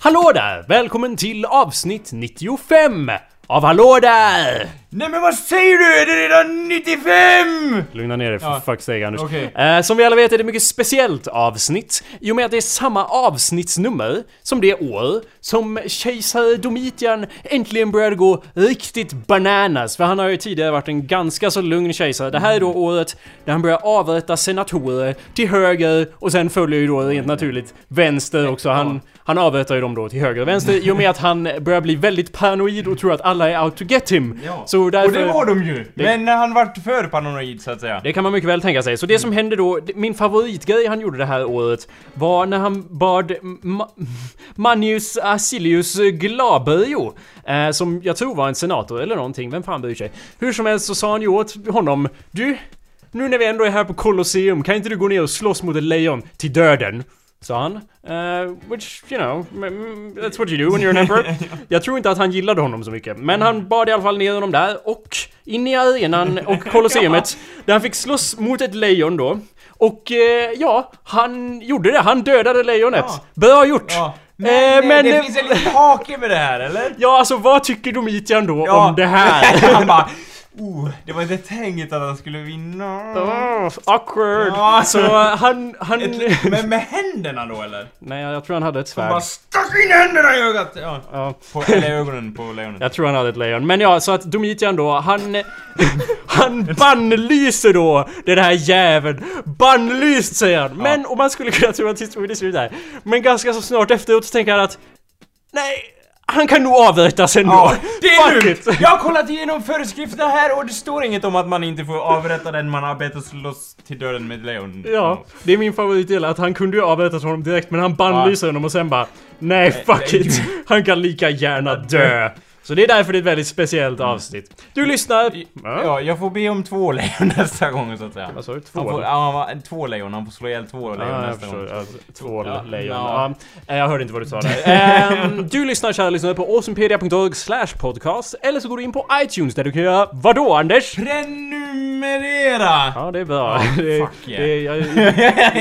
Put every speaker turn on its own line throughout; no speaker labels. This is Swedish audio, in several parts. Hallå där! Välkommen till avsnitt 95 av Hallå där!
Nej men vad säger du? Är det redan 95?
Lugna ner dig för
Ja.
fuck's sake Anders.
Okej.
Eh, som vi alla vet är det ett mycket speciellt avsnitt i och med att det är samma avsnittsnummer som det år som kejsare Domitian äntligen började gå riktigt bananas. För han har ju tidigare varit en ganska så lugn kejsare. Det här är då
Mm.
året där han börjar avrätta senatorer till höger och sen följer ju då rent naturligt vänster också. Han, han avrättar ju dem då till höger och vänster i och med att han börjar bli väldigt paranoid och tror att alla är out to get him. Så därför...
Och det var de ju! Men han vart för paranoid så att säga.
Det kan man mycket väl tänka sig. Så det som hände då, d- min favoritgrej han gjorde det här året var när han bad Ma- Manius Acilius Glabrio, eh, som jag tror var en senator eller någonting, vem fan bryr sig? Hur som helst så sa han ju åt honom, du, nu när vi ändå är här på Colosseum, kan inte du gå ner och slåss mot ett lejon till döden? Sa han. Eh, which, you know, m- m- that's what you do when you're an emperor. Jag tror inte att han gillade honom så mycket. Men han bad i alla fall ner honom där och in i arenan och Colosseumet. Där han fick slåss mot ett lejon då. Och eh, ja, han gjorde det. Han dödade lejonet.
Ja.
Bra gjort!
Ja. Men,
Eh,
eh,
men-
det finns en liten hake med det här eller?
Ja, alltså vad tycker Domitian då
Ja.
om det här?
han bara... Oh, det var inte tänkt att han skulle vinna.
Oh, awkward!
Ja.
Så eh, han... han...
Ett, men med händerna då eller?
Nej, jag tror han hade ett
Han
svärd.
bara stack in händerna i ögat! Ja.
Ja.
På, eller ögonen på lejonet.
Jag tror han hade ett lejon. Men ja, så att Domitian då, han... han bannlyser då den här jäveln. Bannlyst säger han. Men, och man skulle kunna tro att historien är slut där. Men ganska så snart efteråt så tänker han att... Nej, han kan nog avrättas ändå.
Ja, det är
Fuck
lugnt!
it.
Jag har kollat igenom föreskrifterna här och det står inget om att man inte får avrätta den man har bett att slåss till döden med ett lejon.
Ja, det är min favoritdel att han kunde ju avrättat honom direkt men han bannlyser honom och sen bara Nej fuck
nej,
it! Han kan lika gärna dö! Så det är därför det är ett väldigt speciellt avsnitt. Du lyssnar...
Ja, jag får be om två lejon nästa gång så att säga.
Vad sa du? Två?
Han får, ja, han var, två lejon, han får slå ihjäl två lejon
Ja, jag
nästa gång.
förstår. Alltså, två
Ja,
lejon. Ja.
ja.
Eh, Jag hörde inte vad du sa där. Ehm, du lyssnar kära lyssnare på awesomepedia.org slash podcast eller så går du in på iTunes där du kan göra vadå Anders?
Prenumerera!
Ja det är bra. det,
fuck yeah.
det, jag,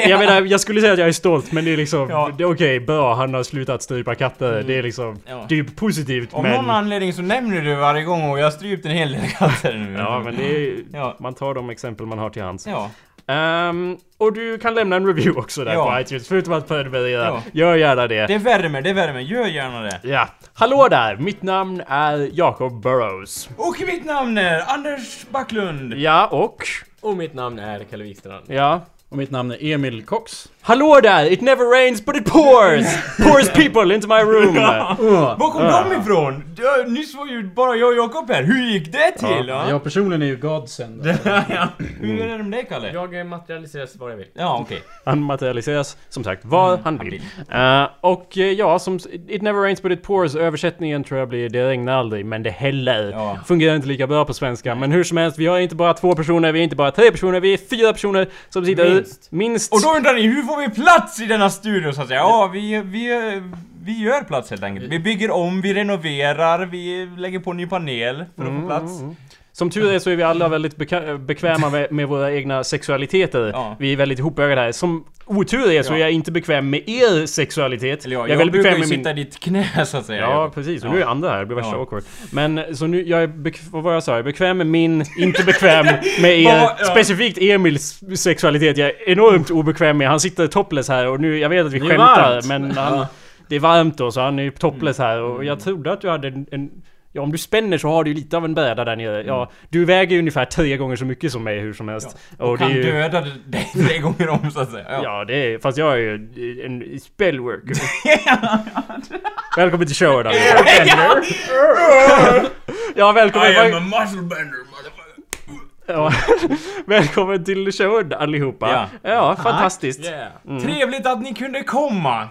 jag menar jag skulle säga att jag är stolt men det är liksom
Ja. Mm.
det är okej bra han har slutat strypa katter. Det är liksom
Ja.
det är ju positivt
Av
men
någon anledning så nämner du varje gång och jag har strypt en hel del katter nu.
Ja men det är,
Ja.
man tar de exempel man har till hands.
Ja.
Ehm, och du kan lämna en review också där
Ja.
på iTunes förutom att prenumerera.
Ja.
Gör gärna det.
Det värmer, det värmer. Gör gärna det.
Ja, hallå där! Mitt namn är Jacob Burrows.
Och mitt namn är Anders Backlund.
Ja, och...
Och mitt namn är Kalle Wikstrand.
Ja.
Och mitt namn är Emil Cox.
Hallå där! It never rains but it pours! pours people into my room!
Var kom de ifrån? Du, nyss var ju bara jag och Jakob här. Hur gick det till? Ja.
Jag personligen är ju godsend.
Hur är det med dig Kalle?
Jag eh, materialiseras var jag vill.
Ja, okej.
Han materialiseras som sagt var han vill. Eh, och eh, ja, som s- It never rains but it pours översättningen tror jag blir Det regnar aldrig men det häller.
Ja.
Fungerar inte lika bra på svenska. Men hur som helst, vi har inte bara två personer, vi är inte bara tre personer, vi är fyra personer som sitter
Minst.
minst
Och då undrar ni, hur får vi plats i denna studio så att säga? Ja, vi, vi, vi gör plats helt enkelt. Vi bygger om, vi renoverar, vi lägger på ny panel för att få plats.
Som tur är så är vi alla väldigt beka- bekväma med, med våra egna sexualiteter.
Ja.
Vi är väldigt ihopögade här. Som otur är så
Ja.
är jag inte bekväm med er sexualitet.
Eller ja,
jag
jag,
är väldigt
brukar
bekväm med
ju
min...
sitta i ditt knä så att säga.
Ja, precis. Och nu är andra här. Det blir värsta
Ja.
awkward. Men så nu, jag är bek- vad var jag sa? Jag är bekväm med min, inte bekväm med er.
Vad var- ja.
Specifikt Emils sexualitet. Jag är enormt obekväm med. Han sitter topless här och nu, jag vet att vi
Det är
skämtar
varmt.
men han, det är varmt då så han är ju topless här och jag trodde att du hade en, en Ja om du spänner så har du ju lite av en bräda där nere. Ja, du väger ju ungefär tre gånger så mycket som mig hur som helst. Och,
Han
det är ju,
dödade dig tre gånger om så att säga. Ja.
Ja det är, fast jag är ju en spellworker. välkommen till showen allihopa. Ja välkommen.
a muscle bender motherfucker.
Ja, välkommen till showen allihopa. Ja, fantastiskt.
Yeah.
Mm. Trevligt att ni kunde komma!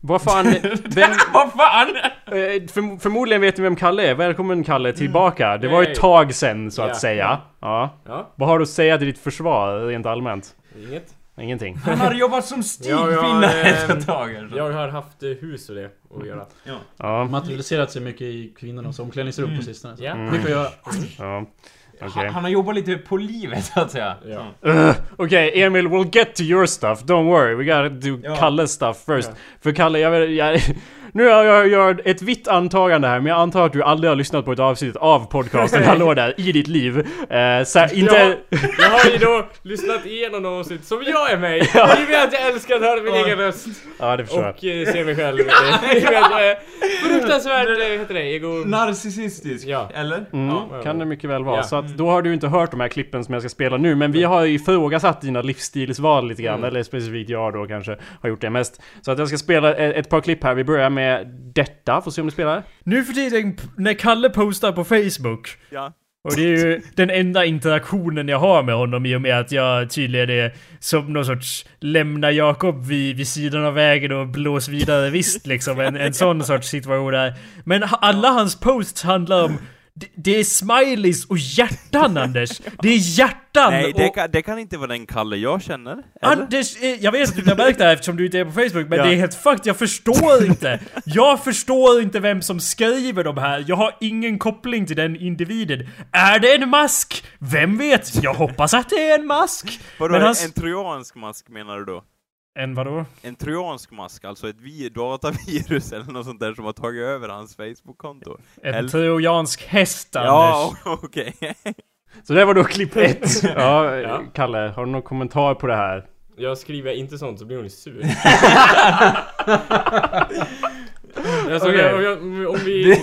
Vad fan, vem,
Mm. Vad fan!
eh, förm- förmodligen vet ni vem Kalle är. Välkommen Kalle tillbaka. Det var ett tag sen så
Mm. Ja.
att säga. Ja.
Ja,
Vad har du att säga till ditt försvar rent allmänt?
inget.
Ingenting.
Han har jobbat som
Ja,
stigfinnare
jag, ehm,
ett tag. alltså.
Jag har haft eh, hus och det att göra.
Ja,
Materialiserat sig mycket i kvinnornas omklädningsrum på sistone.
Mm. Ja.
Mycket att göra.
ja. Okej,
Han- Han har jobbat lite på livet så att säga. Mm.
Ja.
Ugh, okej, Emil, we'll get to your stuff. Don't worry, we gotta do
Ja.
Kalles stuff first. För Kalle, jag, vet- jag,
Nu gör jag gör ett vitt antagande här, men jag antar att du aldrig har lyssnat på ett avsnitt av podcasten Hallå där, i ditt liv. Eh, så här, inte...
Jag har ju då lyssnat igenom några avsnitt som jag är med i. Ni vet att jag älskar att höra min egen röst.
Ja, det förstår jag.
Och eh, se mig själv. i det. Ni vet jag är fruktansvärt, eh, vad heter det, ego...
Narcissistisk,
Ja.
eller?
Mm, kan det mycket väl vara.
Ja. Mm.
Så att då har du inte hört de här klippen som jag ska spela nu. Men vi har ju ifrågasatt dina livsstilsval lite
Mm.
grann. Eller specifikt jag då kanske har gjort det mest. Så att jag ska spela e- ett par klipp här. Vi börjar med detta. Får se om du spelar.
Nu för tiden p- när Kalle postar på Facebook
Ja.
och det är ju den enda interaktionen jag har med honom i och med att jag tydligen är som någon sorts lämna Jakob vid, vid sidan av vägen och blås vidare visst liksom. En, en sån sorts situation där. Men ha- alla hans posts handlar om det- det är smileys och hjärtan Anders! Det är hjärtan!
Nej, det
och
kan, det kan inte vara den Kalle jag känner. Eller?
Anders, eh, jag vet att du inte har märkt det här eftersom du inte är på Facebook, men
Ja.
det är helt fucked, jag förstår inte! Jag förstår inte vem som skriver de här, jag har ingen koppling till den individen. Är det en mask? Vem vet? Jag hoppas att det är en mask!
Vadå,
Men han s-
en trojansk mask menar du då?
En vadå?
En trojansk mask, alltså ett vi- datavirus eller något sånt där som har tagit över hans Facebook-konto?
En
Eller-
trojansk häst Anders.
Ja, okej.
Så det var då klipp ett. Ja,
Ja.
Kalle, har du någon kommentar på det här?
Jag skriver inte sånt så blir hon sur. alltså, om, jag, om, jag, om vi...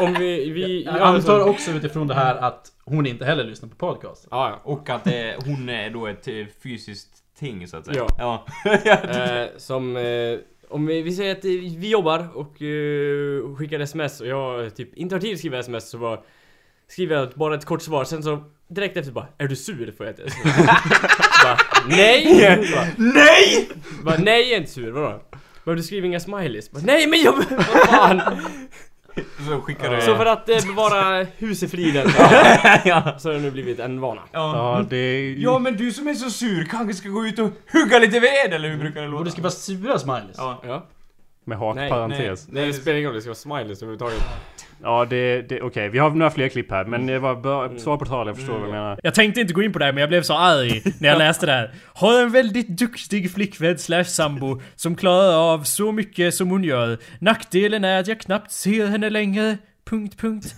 Om vi... vi
Jag antar också utifrån det här att hon inte heller lyssnar på podcast.
Ja, ja.
Och att eh, hon är då ett eh, fysiskt ting så att säga.
Ja.
ja.
Eh, som... Eh, om vi, vi säger att eh, vi jobbar och eh, skickar sms och jag typ inte har tid att skriva sms så bara skriver jag bara ett kort svar sen så direkt efter bara Är du sur? Får jag ett sms. bara, Nej! Bara, nej! Bara, nej jag är inte sur, vadå? Men du skriver inga smileys? Bara, nej men jag... Vad fan!
Så skickar du...
Så för att eh, bevara huset friden så, så har det nu blivit en vana.
ja.
Ja,
Mm.
det är ju...
ja men du som är så sur kanske ska gå ut och hugga lite ved eller hur brukar det
Och du
låta?
ska vara sura smileys.
Ja.
Ja.
Med hak
Nej,
parentes.
Nej det spelar ingen roll, det ska vara smileys överhuvudtaget.
Ja, det... det Okej, vi har några fler klipp här. Men det var bra... Svar på tal, jag förstår vad du menar.
Jag tänkte inte gå in på det här men jag blev så arg när jag läste det här. Har en väldigt duktig flickvän slash sambo som klarar av så mycket som hon gör. Nackdelen är att jag knappt ser henne längre. Punkt, punkt.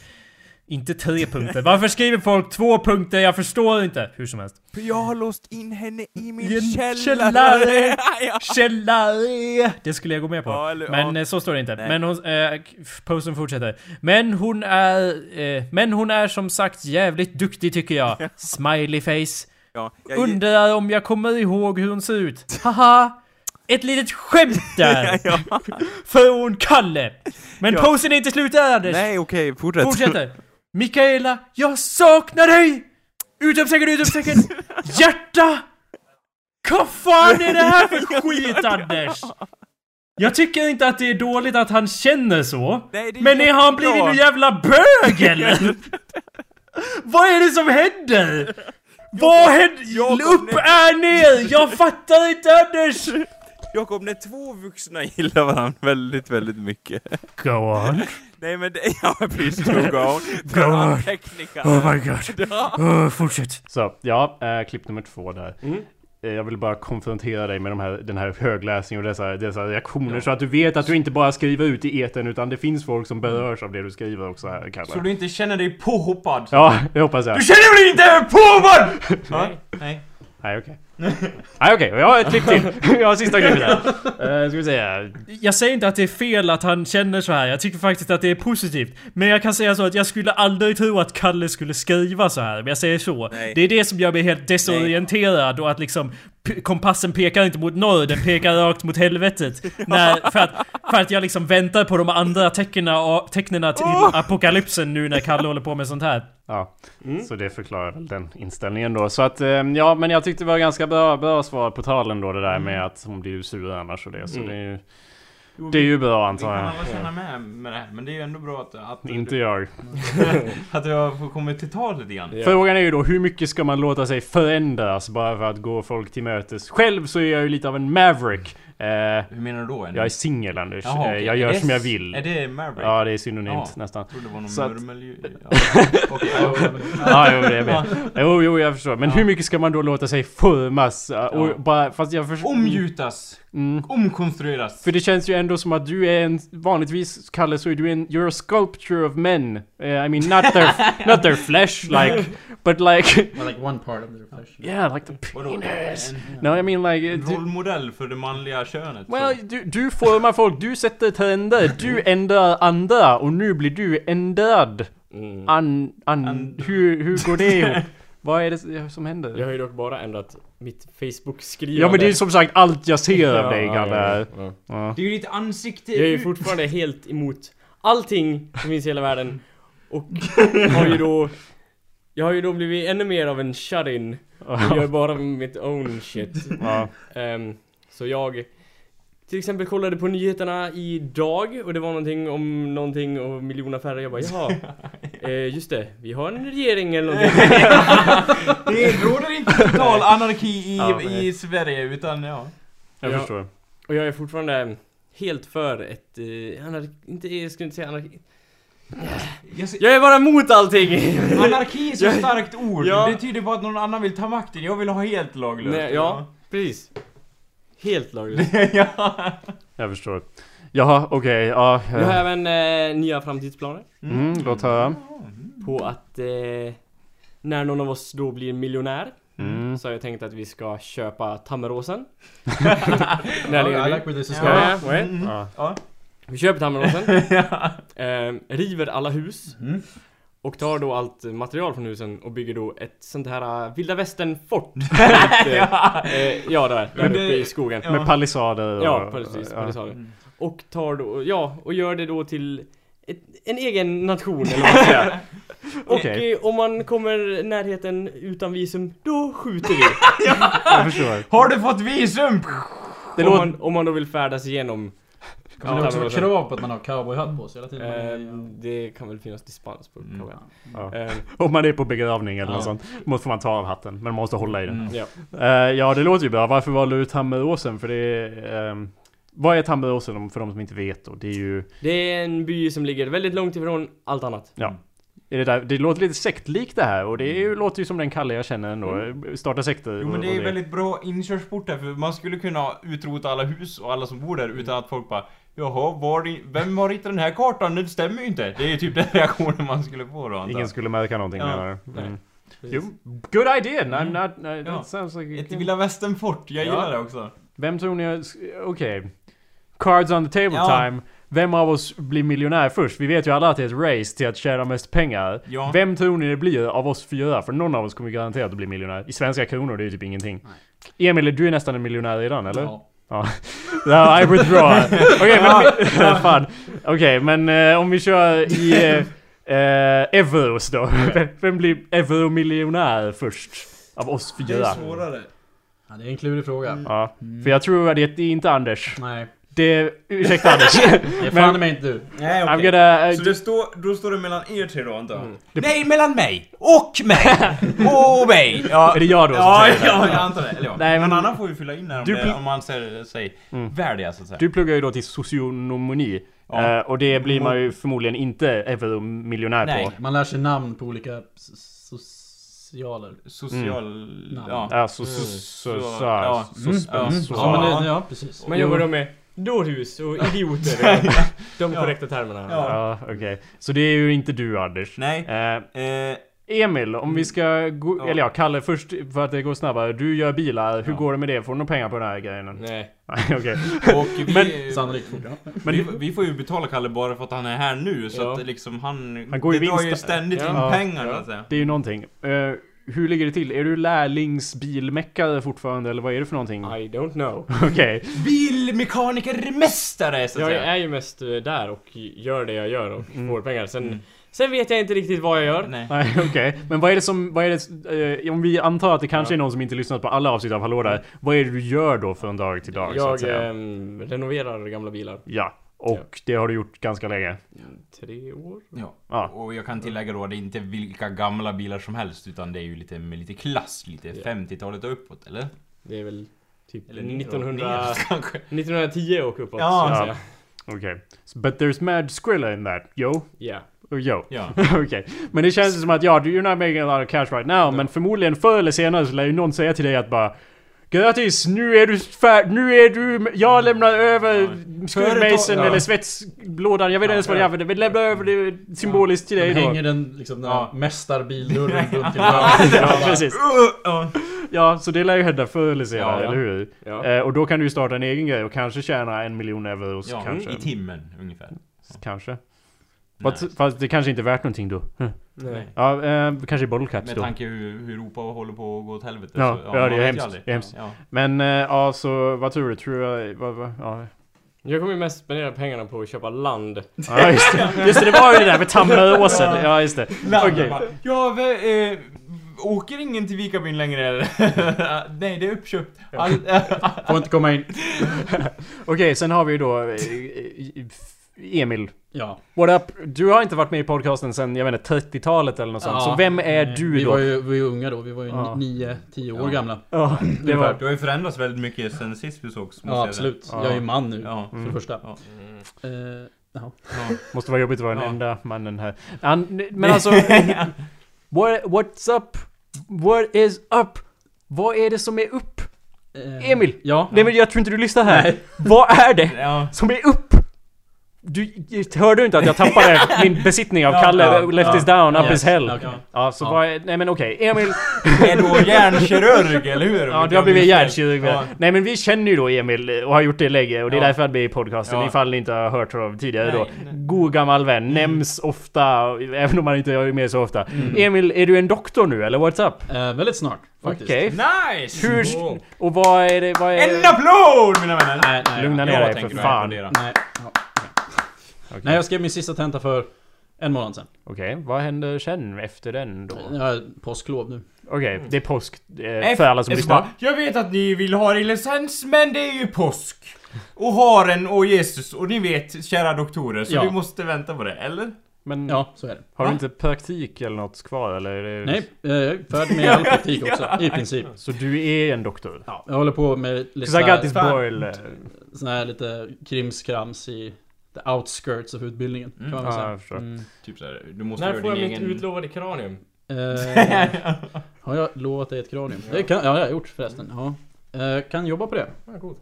Inte tre punkter. Varför skriver folk två punkter? Jag förstår inte. Hur som helst.
För jag har låst in henne i min
I en
källare!
källare.
ja.
Källare! Det skulle jag gå med på.
Ja, eller-
men
ja.
eh, så står det inte.
Nej.
Men hon, eh, posten fortsätter. Men hon är, eh, men hon är som sagt jävligt duktig tycker jag. Smiley face.
Ja, jag,
Undrar om jag kommer ihåg hur hon ser ut. Haha! Ett litet skämt där!
ja.
Från Kalle! Men
Ja.
posen är inte slut där Anders!
Nej, okej, fortsätt.
Fortsätter! Mikaela, jag saknar dig! Utropstecken, utropstecken! Hjärta! Vad fan är det här för skit Anders? Jag tycker inte att det är dåligt att han känner så.
Nej, det är
men är han
jättebra.
blivit en jävla bög eller? Vad är det som händer? Vad händer?
Jakob,
Upp
nej.
är ner! Jag fattar inte Anders!
Jakob, när två vuxna gillar varandra väldigt, väldigt mycket.
Go on.
Nej men det... Ja, precis. Go on.
Go on.
Anteckningar.
Oh my god. Oh, fortsätt.
Så, ja, eh, klipp nummer två där.
Mm.
Eh, Jag vill bara konfrontera dig med de här, den här högläsningen och dessa, dessa reaktioner så att du vet att du inte bara skriver ut i etern utan det finns folk som berörs av det du skriver också här Kalle.
Så du inte känner dig påhoppad?
Ja, det hoppas jag.
Du känner dig inte påhoppad! Nej. Nej.
Nej okej. Nej okej, jag har ett klipp till. Jag har sista klippet här. Eh, ska vi säga.
Jag säger inte att det är fel att han känner så här. Jag tycker faktiskt att det är positivt. Men jag kan säga så att jag skulle aldrig tro att Kalle skulle skriva så här. Men jag säger så.
Nej.
Det är det som gör mig helt desorienterad och att liksom p- kompassen pekar inte mot norr, den pekar rakt mot helvetet. När, för, att, för att jag liksom väntar på de andra tecknena, och- tecknena till apokalypsen nu när Kalle håller på med sånt här.
Ja, så det förklarar väl den inställningen då. Så att eh, ja, men jag tyckte det var ganska bra, bra svar på talen då det
Mm.
där med att hon blir ju sur annars och det. Så det är ju, det är ju bra
Vi
antar
kan
jag.
alla känna med med det här, men det är ju ändå bra att, att,
Inte jag.
att jag får komma till tal lite grann.
Ja.
Frågan är ju då hur mycket ska man låta sig förändras bara för att gå folk till mötes? Själv så är jag ju lite av en maverick.
Eh,
Hur menar du då? Anders?
jag är singel Anders.
Jaha, okej.
Eh, Jag
Är
gör
det
som jag
s-
vill.
Är det Maverick?
Ja, det är synonymt
Ja.
nästan.
Jag trodde det var
Så att-
någon murmelljud. Ja.
Ja,
Okej.
Ja, jo, det är med. Jo, jo, jag förstår. Men hur mycket ska man då låta sig formas? eh, Och
Ja.
bara, fast jag förstår...
Omgjutas!
Mm.
Omkonstrueras!
För det känns ju ändå som att du är en, vanligtvis Kalle så är du en, you're a sculpture of men. Eh, I mean not their, not their flesh like, but like,
Well, like one part of their flesh.
yeah like the
Vadå?
penis.
En-
No I mean like, eh,
En
du,
rollmodell för det manliga könet.
well,
så.
du, du formar folk, du sätter trender, du ändrar andra och nu blir du ändrad.
Mm.
An, an,
And-
hur, hur går det ihop? Vad är det som händer?
Jag har ju dock bara ändrat mitt Facebook-skrivande.
Ja men det är ju som sagt allt jag ser av
Ja,
dig
ja,
Kalle.
ja, ja.
Ja.
Det är ju ditt ansikte
Jag är ju
ut.
fortfarande helt emot allting som finns i hela världen. Och har ju då... Jag har ju då blivit ännu mer av en shut-in. Jag gör bara mitt own shit.
Ja.
Ehm, så jag... Till exempel kollade på nyheterna idag och det var någonting om någonting och miljonaffärer. Jag bara jaha, eh, just det, vi har en regering eller någonting.
Det råder inte total anarki i,
Ja, men-
i Sverige utan ja.
Jag
Ja.
förstår.
Och jag är fortfarande helt för ett... Eh, anar- inte, jag skulle inte säga anarki.
Jag ser-
Jag är bara emot allting!
Anarki är så starkt ord.
Ja.
Det betyder bara att någon annan vill ta makten. Jag vill ha helt laglöst.
Nej, ja, precis. Helt laglöst.
ja.
Jag förstår. Jaha, okej, ja.
Jag har även eh, nya framtidsplaner
Mm, låt höra.
på att eh, när någon av oss då blir miljonär
Mm.
så har jag tänkt att vi ska köpa Tammeråsen.
I,
När ligger
I
vi?
like where this is going.
Ja, ja, ja.
Mm.
Ja.
Ja.
Vi köper Tammeråsen, eh, river alla hus
Mm.
och tar då allt material från husen och bygger då ett sånt här eh, vilda västern-fort. Ett, eh, eh, ja, där, där
Men det-
uppe i skogen.
Med palissader och...
Ja, precis.
ja.
palisader.
Mm.
Och tar då, ja, och gör det då till ett, en egen nation eller vad man ska säga. Och
Okej.
eh, om man kommer närheten utan visum, då skjuter vi.
Jag förstår.
Har du fått visum?
Det
om,
låter...
man, om man då vill färdas igenom.
Kommer det också vara krav på att man har cowboyhatt på sig hela tiden?
Eh,
Ehm,
det kan väl finnas dispens på
Mm.
mm.
Ja.
eh,
Om man är på begravning eller
Ja.
något sånt. Måste man ta av hatten. Men man måste hålla i den.
Mm.
ja.
Eh, ja, det låter ju bra. Varför valde du Tammeråsen? För det är... ehm, vad är Tammeråsen om- för de som inte vet då? Det är ju...
Det är en by som ligger väldigt långt ifrån allt annat.
Är det, där, det låter lite sektlikt det här och det är, ju- låter ju som den Kalle jag känner ändå. Starta sekter.
Mm. Jo men
och-
det är
och
väldigt bra inkörsport där för man skulle kunna utrota alla hus och alla som bor där utan att folk bara Jaha, var, i- vem har ritat den här kartan? Det stämmer ju inte! Det är ju typ den reaktionen man skulle få då antar
Ingen
jag.
skulle märka någonting
Ja. Mm.
menar du?
Nej.
Mm.
Precis.
Jo, good idea! I'm not, uh, that
Ja.
sounds like a
Ett
good-
Vilda Västern-fort, jag
Ja.
gillar det också.
Vem tror ni... Okej. Cards on the table
Ja.
time. Vem av oss blir miljonär först? Vi vet ju alla att det är ett race till att tjäna mest pengar.
Ja.
Vem tror ni det blir av oss fyra? För någon av oss kommer garanterat att bli miljonär. I svenska kronor, det är ju typ ingenting. Emil, du är nästan en miljonär redan, eller?
Ja.
Ja, I withdraw. Okej, men... Fan. Okej, men eh, om vi kör i... Eh, eh, euros då. Vem- Vem blir euromiljonär först? Av oss fyra.
svårare.
Ja, det är en klurig fråga.
Ja, för jag tror att det det är inte Anders.
Nej,
Det... Ursäkta Anders.
det är
Men-
fan i mig inte du.
Nej
I'm gonna... eh,
Så det står, då står det mellan er tre då antar jag?
Mm.
Nej, mellan mig! Och mig! och mig! Ja.
Är det jag då som
Ja,
säger det?
ja, jag antar det. Eller ja.
Nej,
Nej, men...
men-
Någon annan får ju fylla in här om,
Du pl-
det, om man säger sig
Mm.
värdiga så att säga.
Du pluggar ju då till socionomoni.
Ja. Mm.
eh, Och det blir man ju förmodligen inte euromiljonär på.
Nej.
Man lär sig namn på olika s- socialer.
Social...
Namn.
Ja.
Alltså, så... så, så,
Mm. Så-
så,
ja.
så,
Mm.
så,
Ja,
så.
men det, ja precis.
Man
Jo.
jobbar då med dårhus och idioter. de korrekta termerna.
Ja.
Ja, okej. Så det är ju inte du Anders.
Nej.
Eh,
Eh,
Emil, om vi ska gå...
Ja.
Eller ja, Kalle först för att det går snabbare. Du gör bilar. Hur
Ja.
går det med det? Får du några pengar på den här grejen?
Nej.
Nej, okej.
och vi,
Sannolikt fortare.
Men
vi, vi får ju betala Kalle bara för att han är här nu så
Ja.
att liksom han...
Han går ju
det drar
vinst-
ju ständigt
Ja.
Ja.
in pengar
Ja.
så att säga.
Det är ju någonting. Eh, hur ligger det till? Är du lärlingsbilmäckare fortfarande eller vad är det för någonting?
I don't know.
Okej.
Bilmekanikermästare så att
Jag
säga.
är ju mest eh, där och gör det jag gör och
Mm.
får pengar. Sen,
Mm.
sen vet jag inte riktigt vad jag gör.
Nej.
Nej, okej. Men vad är det som, vad är det, eh, om vi antar att det kanske
Ja.
är någon som inte lyssnat på alla avsnitt av Hallå där. Vad är det du gör då från dag till dag? så att
Jag
säga?
ehm, renoverar gamla bilar.
Ja. Och det har du gjort ganska länge.
Tre år?
Ja.
Ja.
Och jag kan tillägga då, det är inte vilka gamla bilar som helst utan det är ju lite med lite klass, lite
Ja.
50-talet och uppåt, eller?
Det är väl Typ
Eller ner-
1900,
ner kanske.
1910 och uppåt.
Ja.
så att säga.
Okej. But there's mad skrilla in that. Yo.
Ja.
Oh, yo.
Ja.
Okej. Men det känns som att ja, du- you're not making a lot of cash right now. Men förmodligen förr eller senare så lär ju någon säga till dig att bara Grattis! Nu är du färd... Nu är du... Jag lämnar över skruvmejseln
Företag-
eller
ja.
svetslådan. Jag vet inte ens vad jag använder. Vi lämnar över det symboliskt till dig
De
då.
hänger den liksom, den
Ja.
här mästarbildörren runt till varandra.
Ja, precis.
Ja.
Ja, så det lär ju hända förr eller senare,
Ja, ja.
eller hur?
Ja.
Eh, och då kan du ju starta en egen grej och kanske tjäna en miljon euro.
Ja,
kanske.
i timmen ungefär.
Kanske. Fast, fast det kanske inte är värt någonting då. Hm.
Nej.
Ja, eh, kanske i bollcaps
Med
då.
tanke hur, hur Europa håller på att gå åt helvete.
Ja,
så,
ja, det är
man vet ju
hemskt.
aldrig.
Det är hemskt.
Ja.
Men eh, ja, så vad tror du? Tror jag... Vad, vad, ja.
Jag kommer ju mest spendera pengarna på att köpa land.
ja, just det. Just det, det var ju det där med Tammeråsen. Ja, just det.
Land,
Okej.
bara, Ja, vä- eh, åker ingen till Vikabyn längre eller? Nej, det är uppköpt. All,
Får inte komma in.
Okej, sen har vi ju då eh, eh, Emil.
Ja.
What up? Du har inte varit med i podcasten sen, jag vet inte, 30-talet eller något sånt.
Ja.
Så vem är du
vi
då?
Var ju, vi var ju unga då, vi var ju
Ja.
9-10 år
Ja.
gamla.
Ja, det var...
du har ju förändrats väldigt mycket sen sist vi sågs. måste jag
Ja
säga.
absolut,
Ja. Mm.
jag är ju man nu.
Ja.
För det första.
Ja.
Eh, jaha.
Ja.
Måste vara jobbigt att vara den
Ja.
enda mannen här. An, men alltså... what, what's up? What is up? Vad är det som är upp?
Eh,
Emil!
Ja.
Nej men jag tror inte du lyssnar här. Vad är det
ja.
som är upp? Du, hörde du inte att jag tappade min besittning av
Ja,
Kalle?
ja,
left
ja.
is down, up
Yes,
is hell.
okej.
Ja, så
Ja.
vad är... Nej men okej, Emil.
Är då hjärnkirurg, eller hur?
Ja, du har blivit hjärtkirurg.
Ja.
Nej men vi känner ju då Emil och har gjort det länge och det är
Ja.
därför han är med i podcasten
Ja.
ifall ni inte har hört honom tidigare
Nej,
då.
nej. Mm.
God gammal vän, nämns ofta, även om man inte är med så ofta.
Mm.
Emil, är du en doktor nu eller what's up?
Eh, väldigt snart faktiskt.
Okej.
Nice!
Hur...
Wow.
Och vad är det... Vad är...
En applåd mina vänner!
Nej, nej.
Lugna ner
Jag
dig
tänker
för
nog
fan. Okej,
applådera.
Nej. Ja. nej, jag skrev min sista tenta för en månad sedan.
vad händer sen efter den då? Okej,
Jag har påsklov
Mm.
nu.
Mm.
det är påsk eh,
Nej,
för
Alltså,
alla som
jag ska
lyssnar.
bara, Jag vet att ni vill ha er licens, men det är ju påsk. Och haren och Jesus, och ni vet kära doktorer, så
Ja.
vi måste vänta på det, eller?
Men
Ja, så är det.
har du inte praktik eller något kvar eller? Är det...
Nej, eh, jag är färdig med all praktik också. I princip.
Så du är en doktor? Ja.
Jag håller på med lite
'Cause I got this
sån
Fan.
boil... eh,
här lite krimskrams i the outskirts av utbildningen. Kan man
Mm. Ja,
väl säga. Mm.
jag förstår.
Typ såhär, du måste
När får
göra
jag
din
mitt
egen...
utlovade kranium?
Eh, har jag lovat dig ett kranium? Det kan, ja, jag har jag gjort förresten. Ja. Eh, kan jobba på det.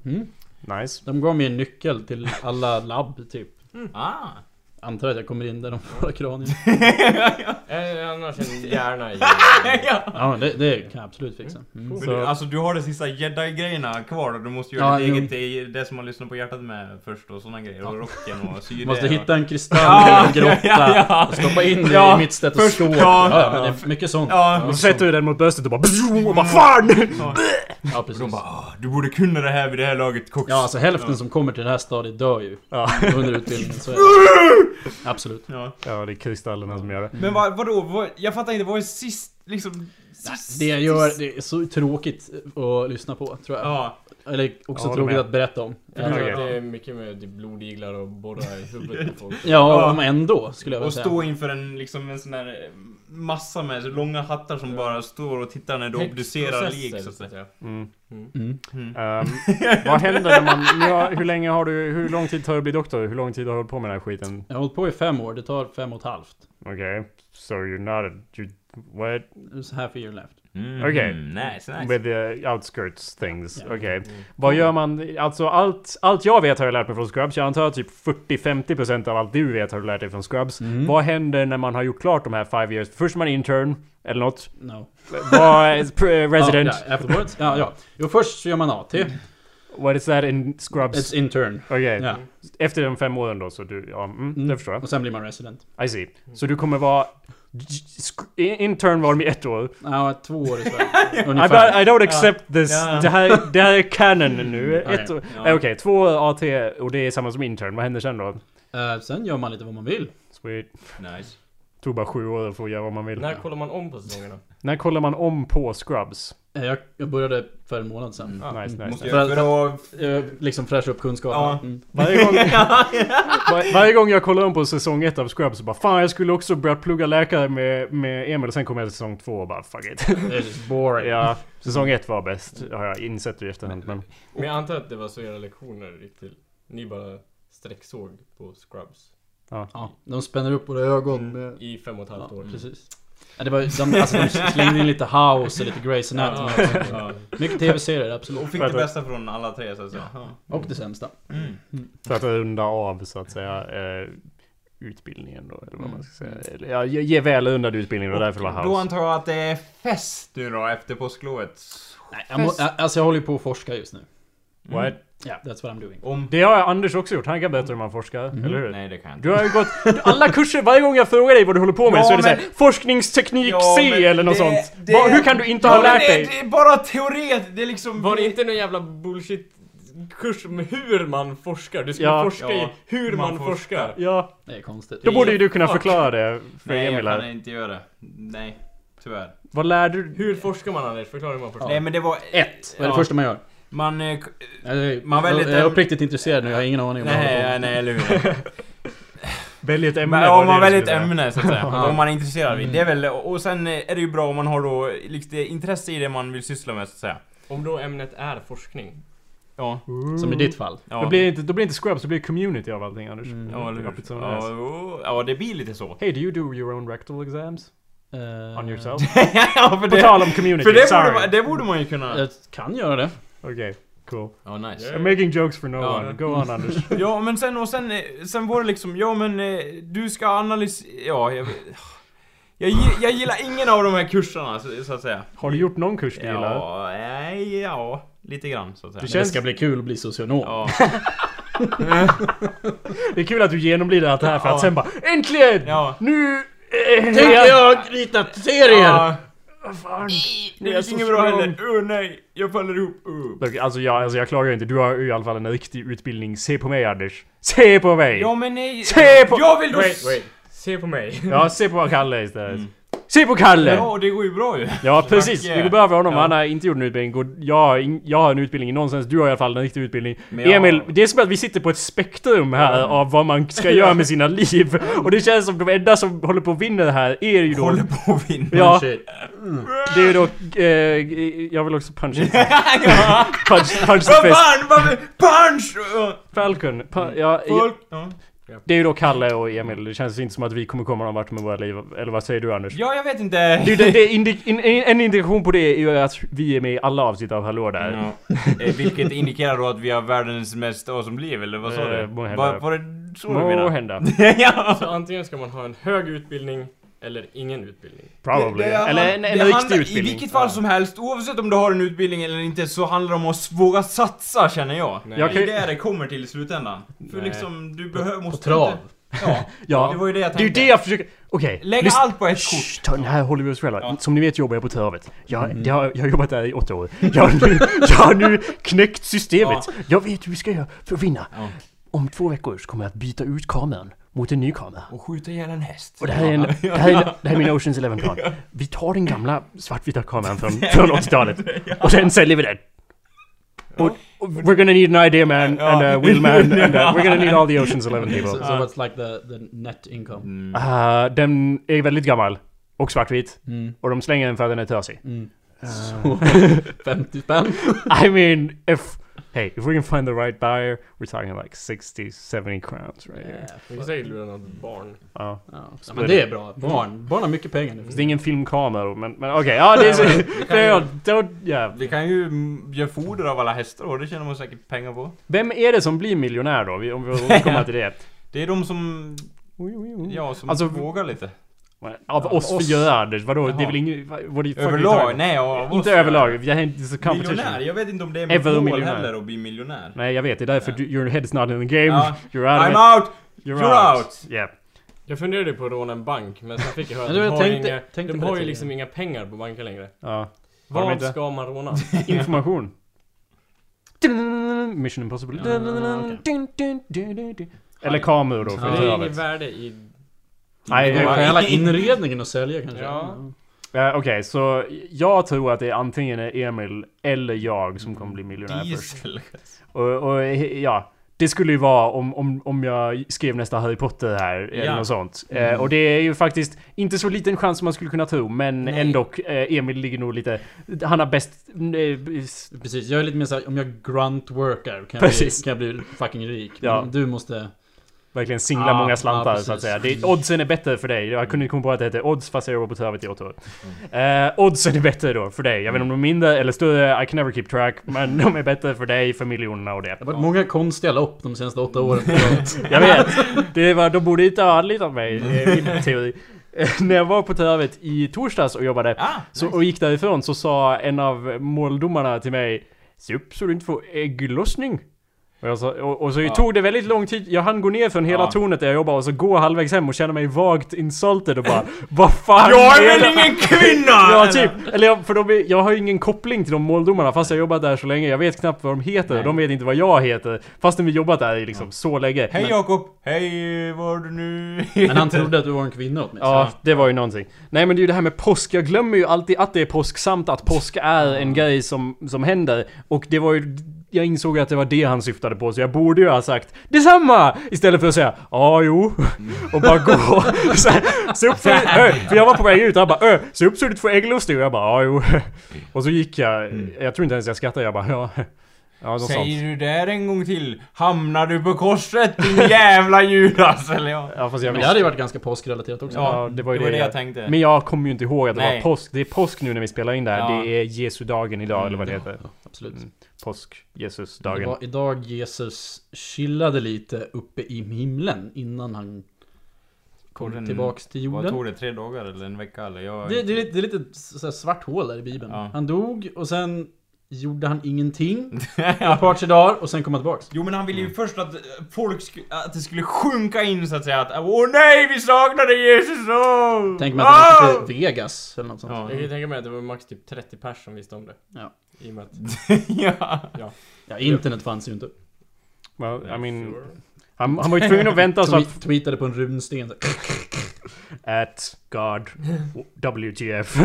Mm.
Nice.
De gav mig en nyckel till alla labb typ.
Ah!
Antar att jag kommer in där de får ha kranium.
Eh, annars en hjärna i...
Ja, men det, det kan jag absolut fixa. Mm.
Men
Så-
du, alltså du har de sista jedi-grejerna kvar då, du måste göra
Ja,
ditt
jo.
eget, det, det som man lyssnar på hjärtat med först och sådana grejer, och rocken och sy
Måste
det.
hitta en kristall i en grotta
ja, ja.
och stoppa in det
Ja,
i mitt
först-
stetoskop.
ja.
Ja, ja, men det är mycket sånt. Ja,
Ja,
Och så sätter du den mot bröstet och bara... Och bara FAN!
precis.
de bara "Ah, du borde kunna det här vid det här laget koks.
Ja, alltså hälften som kommer till det här stadiet dör ju
Ja.
under utbildningen. Så är det. Absolut.
Ja.
Ja, det är kristallerna som gör det.
Men vad, vadå, vad, jag fattar inte, vad är sist, liksom... Sist,
Det jag gör, det är så tråkigt att lyssna på tror jag.
Ja.
Eller också
Ja, de
tråkigt
är.
att berätta om.
Jag tror
okej.
att det är mycket med typ blodiglar och borra i huvudet på folk.
Ja, om ändå skulle jag vilja
Och
säga.
stå inför en, liksom en sån här eh, massa med så långa hattar som bara står och tittar när du obducerar
Häxprocesser,
lik så att säga.
Mm.
Mm.
Ehm, vad händer när man... nu har- hur länge har du... Hur lång tid tar det att bli doktor? Hur lång tid har du hållit på med den här skiten?
Jag har hållit på i fem år, det tar fem och ett halvt.
Okej. So you're not... A, you, what?
Så här för year left.
Mm,
Okej.
Nice, nice.
With the outskirts things.
Ja.
Okej. Vad gör man? Alltså allt, allt jag vet har jag lärt mig från Scrubs. Jag antar att typ 40-50% av allt du vet har du lärt dig från Scrubs. Vad händer när man har gjort klart de här five years? Först är man intern, eller något.
No.
Vad är pr- eh, resident?
Ja, ja, afterwards? Ja, ja. Jo, först så gör man AT.
Mm. What is that in
It's
Scrubs?
intern.
Okej.
Ja.
Efter de fem åren då så du... Ja, mm, det förstår jag.
Och sen blir man resident.
I see. Så du kommer vara... sk- Intern var de i ett år.
Ja, två år i Sverige.
I, but
Ungefär.
I don't accept this.
Ja.
Det, här, det här är canon nu.
Ja,
Ett
Mm. ja.
år.
Ja.
Nej, Okej, två år AT och det är samma som intern. Vad händer sen då?
Eh, sen gör man lite vad man vill.
Sweet.
nice.
Tog bara sju år för att göra vad man vill.
När kollar man om på säsongerna?
När kollar man om på Scrubs?
Eh, Jag, jag började för en månad sedan.
Nice, nice, nice.
Måste
För-
jag, för att
Jag liksom fräscha upp kunskapen.
Ja.
Mm.
Varje gång, var, varje gång jag kollar om på säsong ett av Scrubs så bara Fan jag skulle också börja plugga läkare med, med Emil och sen kom jag till säsong två och bara fuck it.
Det är just boring.
ja, säsong ett var bäst har jag insett i efterhand men...
Men jag antar att det var så era lektioner gick till. Ni bara sträcksåg på Scrubs.
Ja, de spänner upp våra ögon
Mm,
med...
I fem och ett halvt
Ja,
år.
precis. Ja, det var, ju- de, alltså, de slängde in lite house och lite Grey's
Ja,
Anatomy.
ja, ja.
Mycket tv-serier, absolut.
Och fick det bästa från alla tre så att säga. Ja.
Och det sämsta.
För att runda av så att säga eh, utbildningen då, eller vad man ska säga. Eller, Ja, ge, ge väl undrad utbildning och därför var
Mm. Då
house.
antar jag att det är fest nu då efter påsklovet.
Nej, jag må, jag- alltså jag håller ju på att forska just nu.
What?
Ja, that's what I'm doing.
Om...
Det har Anders också gjort, han kan bättre än man forskar, eller hur?
Mm. Nej det kan jag
Du har ju gått alla kurser, varje gång jag frågar dig vad du håller på med
Ja,
så är det såhär
men-
Forskningsteknik
Ja,
C
men
eller något
det-
sånt.
det-
Vad- hur kan du inte ha
men
lärt
det,
dig?
Det är bara teoret, det är liksom...
Var det inte någon jävla bullshit kurs om hur man forskar? Du skulle
Ja.
forska
Ja.
i hur man,
Man
forskar.
Ja,
Det är konstigt.
då borde ju du kunna
Fuck.
förklara det för
Nej jag
Emil
kan
här.
inte göra det. Nej, tyvärr.
Vad lärde du?
Hur forskar man Anders? Förklara hur man forskar.
Nej men det var...
Ett! Vad är det
Ja.
första man gör?
Man... eh, k-
Jag är,
Man väljer
jag, jag är
den-
uppriktigt intresserad nu, jag har ingen aning om vad jag
Nej,
håller på
nej,
med.
nej eller hur.
Välj ett ämne.
Men
var
om man
det du
väljer ett
skulle säga. Mm.
ämne så att säga. Om man är intresserad av det. är väl... Och sen eh, är det ju bra om man har då lite intresse i det man vill syssla med så att säga.
Om då ämnet är forskning.
Ja.
Som i ditt fall.
ja.
Då blir det inte, då blir det inte Scrubs, det blir community av allting Anders.
Mm. Ja, eller hur?
Up its own
Ja,
ass.
jo, ja, det blir lite så.
Hey, do you do your own rectal exams?
Eh,
On yourself?
ja, för
På tal om community,
Uh, För det
sorry.
borde, man- det borde man ju kunna...
Jag kan göra det.
Okej, cool.
Ja, nice.
I'm making jokes for no
Ja.
one. Go on Anders.
Ja, men sen och sen, eh, sen var det liksom, ja men eh, du ska analysera... Ja, jag, jag, gi- jag gillar ingen av de här kurserna så, så att säga.
Har du gjort någon kurs du gillar?
Ja, nej, ja, lite grann så att säga.
Du
Det
känns,
ska bli kul att bli socionom.
Ja,
det är kul att du genomlider allt det här för att
Ja.
sen bara Äntligen!
ja.
Nu! Eh,
Tänker
ja.
jag rita serier! Oh,
ja.
Fan.
Det
Jag är
gick
så
inget bra
strong.
heller. Åh nej, jag faller ihop. Uh.
Look, Alltså jag, alltså jag klagar inte, du har ju i alla fall en riktig utbildning. Se på mig Anders. Se på mig!
Ja men nej.
Se på-
Jag vill då...
Wait, wait. Se på mig.
Ja, se på Kalle istället. Se på Kalle!
Mm. Ja,
Ja,
och det går ju bra ju.
precis.
Tack,
Vi går
ja.
behöver honom.
Ja.
Han har inte gjort en utbildning. Och Jag, har ing- jag har en utbildning nonsens. Du har i alla fall en riktig utbildning.
Men jag-
Emil, det är som att vi sitter på ett spektrum här av vad man ska göra med sina liv. Och det känns som de enda som håller på att vinna det här är ju då...
Håller på att vinna.
ja,
Shit.
det är ju då... Eh, jag vill också punch it. punch, punch the
Vad
face.
fan, vad... Punch! Uh,
Falcon. Pa, ja, ja,
folk. Ja.
det är ju då Kalle och Emil. Det känns inte som att vi kommer komma någon vart med våra liv. Eller vad säger du Anders?
Ja, jag vet inte.
Det, är ju det, det är indi- in, in, en indikation på det är ju att vi är med i alla avsnitt av Hallå där.
Ja. Eh, Vilket indikerar då att vi har världens mest awesome liv, eller vad sa
Eh,
du?
må hända.
Var, var det så du
Må
menade?
hända.
ja.
Så antingen ska man ha en hög utbildning eller ingen utbildning.
Probably.
Det- det-
Eller en,
det
en
handlar-
riktig
I
utbildning.
vilket fall som helst, oavsett om du har en utbildning eller inte, så handlar det om att våga satsa känner jag.
Nej.
Jag
Det
kan-
är där det kommer till i slutändan. För
Nej.
liksom, du behöver... måste
trav.
inte- Ja,
Ja.
det var ju det jag
Det är ju
tänkte.
det jag försöker... Okej.
Lägg
lyssna-
allt på ett kort.
Shh, ta- det här håller vi oss själva.
Ja. Mm.
Som ni vet jobbar jag på Travet. Jag, jag, har- jag har jobbat där i åtta år. Jag har nu, jag har nu knäckt systemet. Jag vet hur vi ska göra för att vinna.
Ja.
Om två veckor så kommer jag att byta ut kameran mot en ny kamera.
Och skjuta ihjäl en häst.
Och det här är, en, det här är, en, det här är min Oceans Eleven-plan. Vi tar den gamla svartvita kameran från, från 80-talet och sen säljer vi den. Och, och we're gonna need an idea man and a will man and a, we're gonna need all the Oceans Eleven
So, so
people.
what's like the, the net income?
Mm.
Uh, den är väldigt gammal och svartvit
Mm.
och de slänger den för att den är törsig.
Mm.
Uh,
50 spänn?
Ah, I mean, if... Hey, if we can find the right buyer, we're talking like 60-70 crowns right here.
Vi kan säkert lura något barn.
Ja.
Ja, men det är bra. Barn. Barn har mycket pengar nu.
Fast det är ingen filmkamera då, men, men okej. ja, det är så... det är- don't- ja.
Vi kan ju mm, göra foder av alla hästar och det tjänar man säkert pengar på.
Vem är det som blir miljonär då? Vi- Om vi återkommer till det.
Det är de som, ja, som
Alltså-
vågar lite.
Av oss fyra Anders, vadå? Det är
Jaha.
väl ingen... vad- What the fuck are you talking
Överlag?
about?
Nej, jag
Inte överlag, vi har inte så competition.
Miljonär? Jag vet inte om det är mitt
Ever
mål
miljonär.
heller att bli miljonär.
Nej jag vet, det är därför du, your head's not in the game.
Ja.
You're out of
I'm out!
it. You're,
you're out.
Yeah.
Jag funderade på att råna en bank men sen fick jag höra att
Ja, du,
de
jag
har,
tänkte-
inga,
tänkte
de
på
har
det
ju
tidigare.
liksom inga pengar på banker längre.
Ja. Har de
Vad
inte?
ska man råna?
Information. Mission impossible. Eller kameror då.
Men
För
det är
det
inget värde i
Nej, det-
Ja,
Stjäla inredningen och sälja kanske?
Ja.
Eh, Okej, så jag tror att det är antingen är Emil eller jag som kommer bli miljonär först.
Diesel.
Och, och he- ja, det skulle ju vara om, om, om jag skrev nästa Harry Potter här eller
Ja.
något sånt. Eh,
Mm.
och det är ju faktiskt inte så liten chans som man skulle kunna tro, men ändå. Eh, Emil ligger nog lite... Han har bäst... eh, s-
Precis, jag är lite mer såhär, om jag grunt-workar kan, jag bli-
Precis.
kan jag bli fucking rik.
Ja.
Men du måste...
verkligen singla
Ah,
många
ja,
slantar
precis.
så att säga. Det, oddsen är bättre för dig. Jag kunde inte komma på att det heter odds fast jag jobbar på travet i åtta år.
Mm.
Eh, oddsen är bättre då för dig. Jag vet inte om de är mindre eller större, I can never keep track. Men de är bättre för dig, för miljonerna och det.
Det har varit många konstiga lopp de senaste åtta åren.
Jag vet. Det var, de borde inte ha anlitat mig, är min teori. Eh, När jag var på Törvet i torsdags och jobbade
Ah,
så, och gick därifrån så sa en av måldomarna till mig Se upp så du inte får ägglossning. Och, jag sa, och, och så tog det väldigt lång tid. Jag hann gå ner från hela
Ja.
tornet där jag jobbar och så gå halvvägs hem och känna mig vagt insulted och bara Vad fan
Jag är
det?"
väl ingen kvinna!
Ja typ! Eller jag, för de, är- jag har ju ingen koppling till de måldomarna fast jag har jobbat där så länge. Jag vet knappt vad de heter och de vet inte vad jag heter. Fastän vi jobbat där i liksom så länge.
Hej Jakob! Hej var du nu
Men han trodde att du var en kvinna åtminstone.
Ja, det var ju någonting. Nej men det är ju det här med påsk. Jag glömmer ju alltid att det är påsk samt att påsk är en grej som, som händer. Och det var ju... Jag insåg att det var det han syftade på så jag borde ju ha sagt detsamma! Istället för att säga ja jo och bara gå. Så här, Se upp för, ö, för jag var på väg ut och han bara ö, se upp så du inte får ägglustig och jag bara ja jo. Och så gick jag, jag tror inte ens jag skrattade, jag bara ja. Ja, något sånt.
Säger du där en gång till hamnar du på korset din jävla Judas eller ja.
Ja, fast jag
Men det
visste.
hade ju varit ganska påskrelaterat också.
Ja, det var ju
det, var
det
det jag
jag-
tänkte.
Men jag kommer ju inte ihåg att det
Nej.
var påsk. Det är påsk nu när vi spelar in det här.
Ja.
Det är Jesu dagen idag eller vad det heter.
Absolut.
Mm. Påsk, Jesus
Det
dagen.
var idag Jesus chillade lite uppe i himlen innan han kom
Och den-
tillbaks till
Vad tog
jorden.
det? Tre dagar eller en vecka eller? Jag...
Det, det, är lite, det är lite så här svart hål där i bibeln.
Ja.
Han dog och sen gjorde han ingenting. Ett par tre dagar och sen kom han tillbaks.
Jo men han ville ju först att eh, folk sku... att det skulle sjunka in så att säga att Åh nej vi saknade Jesus! Åh!
Tänk mig att han
Åh!
åkte till Vegas eller något sånt.
Ja.
Jag kan tänka mig att det var max typ 30 pers som visste om det.
Ja.
I och med att...
ja.
Ja, internet fanns ju inte.
Well, I mean, han, han var ju tvungen att vänta så att...
Tweet- Tweetade på en runsten. så här.
At God WTF.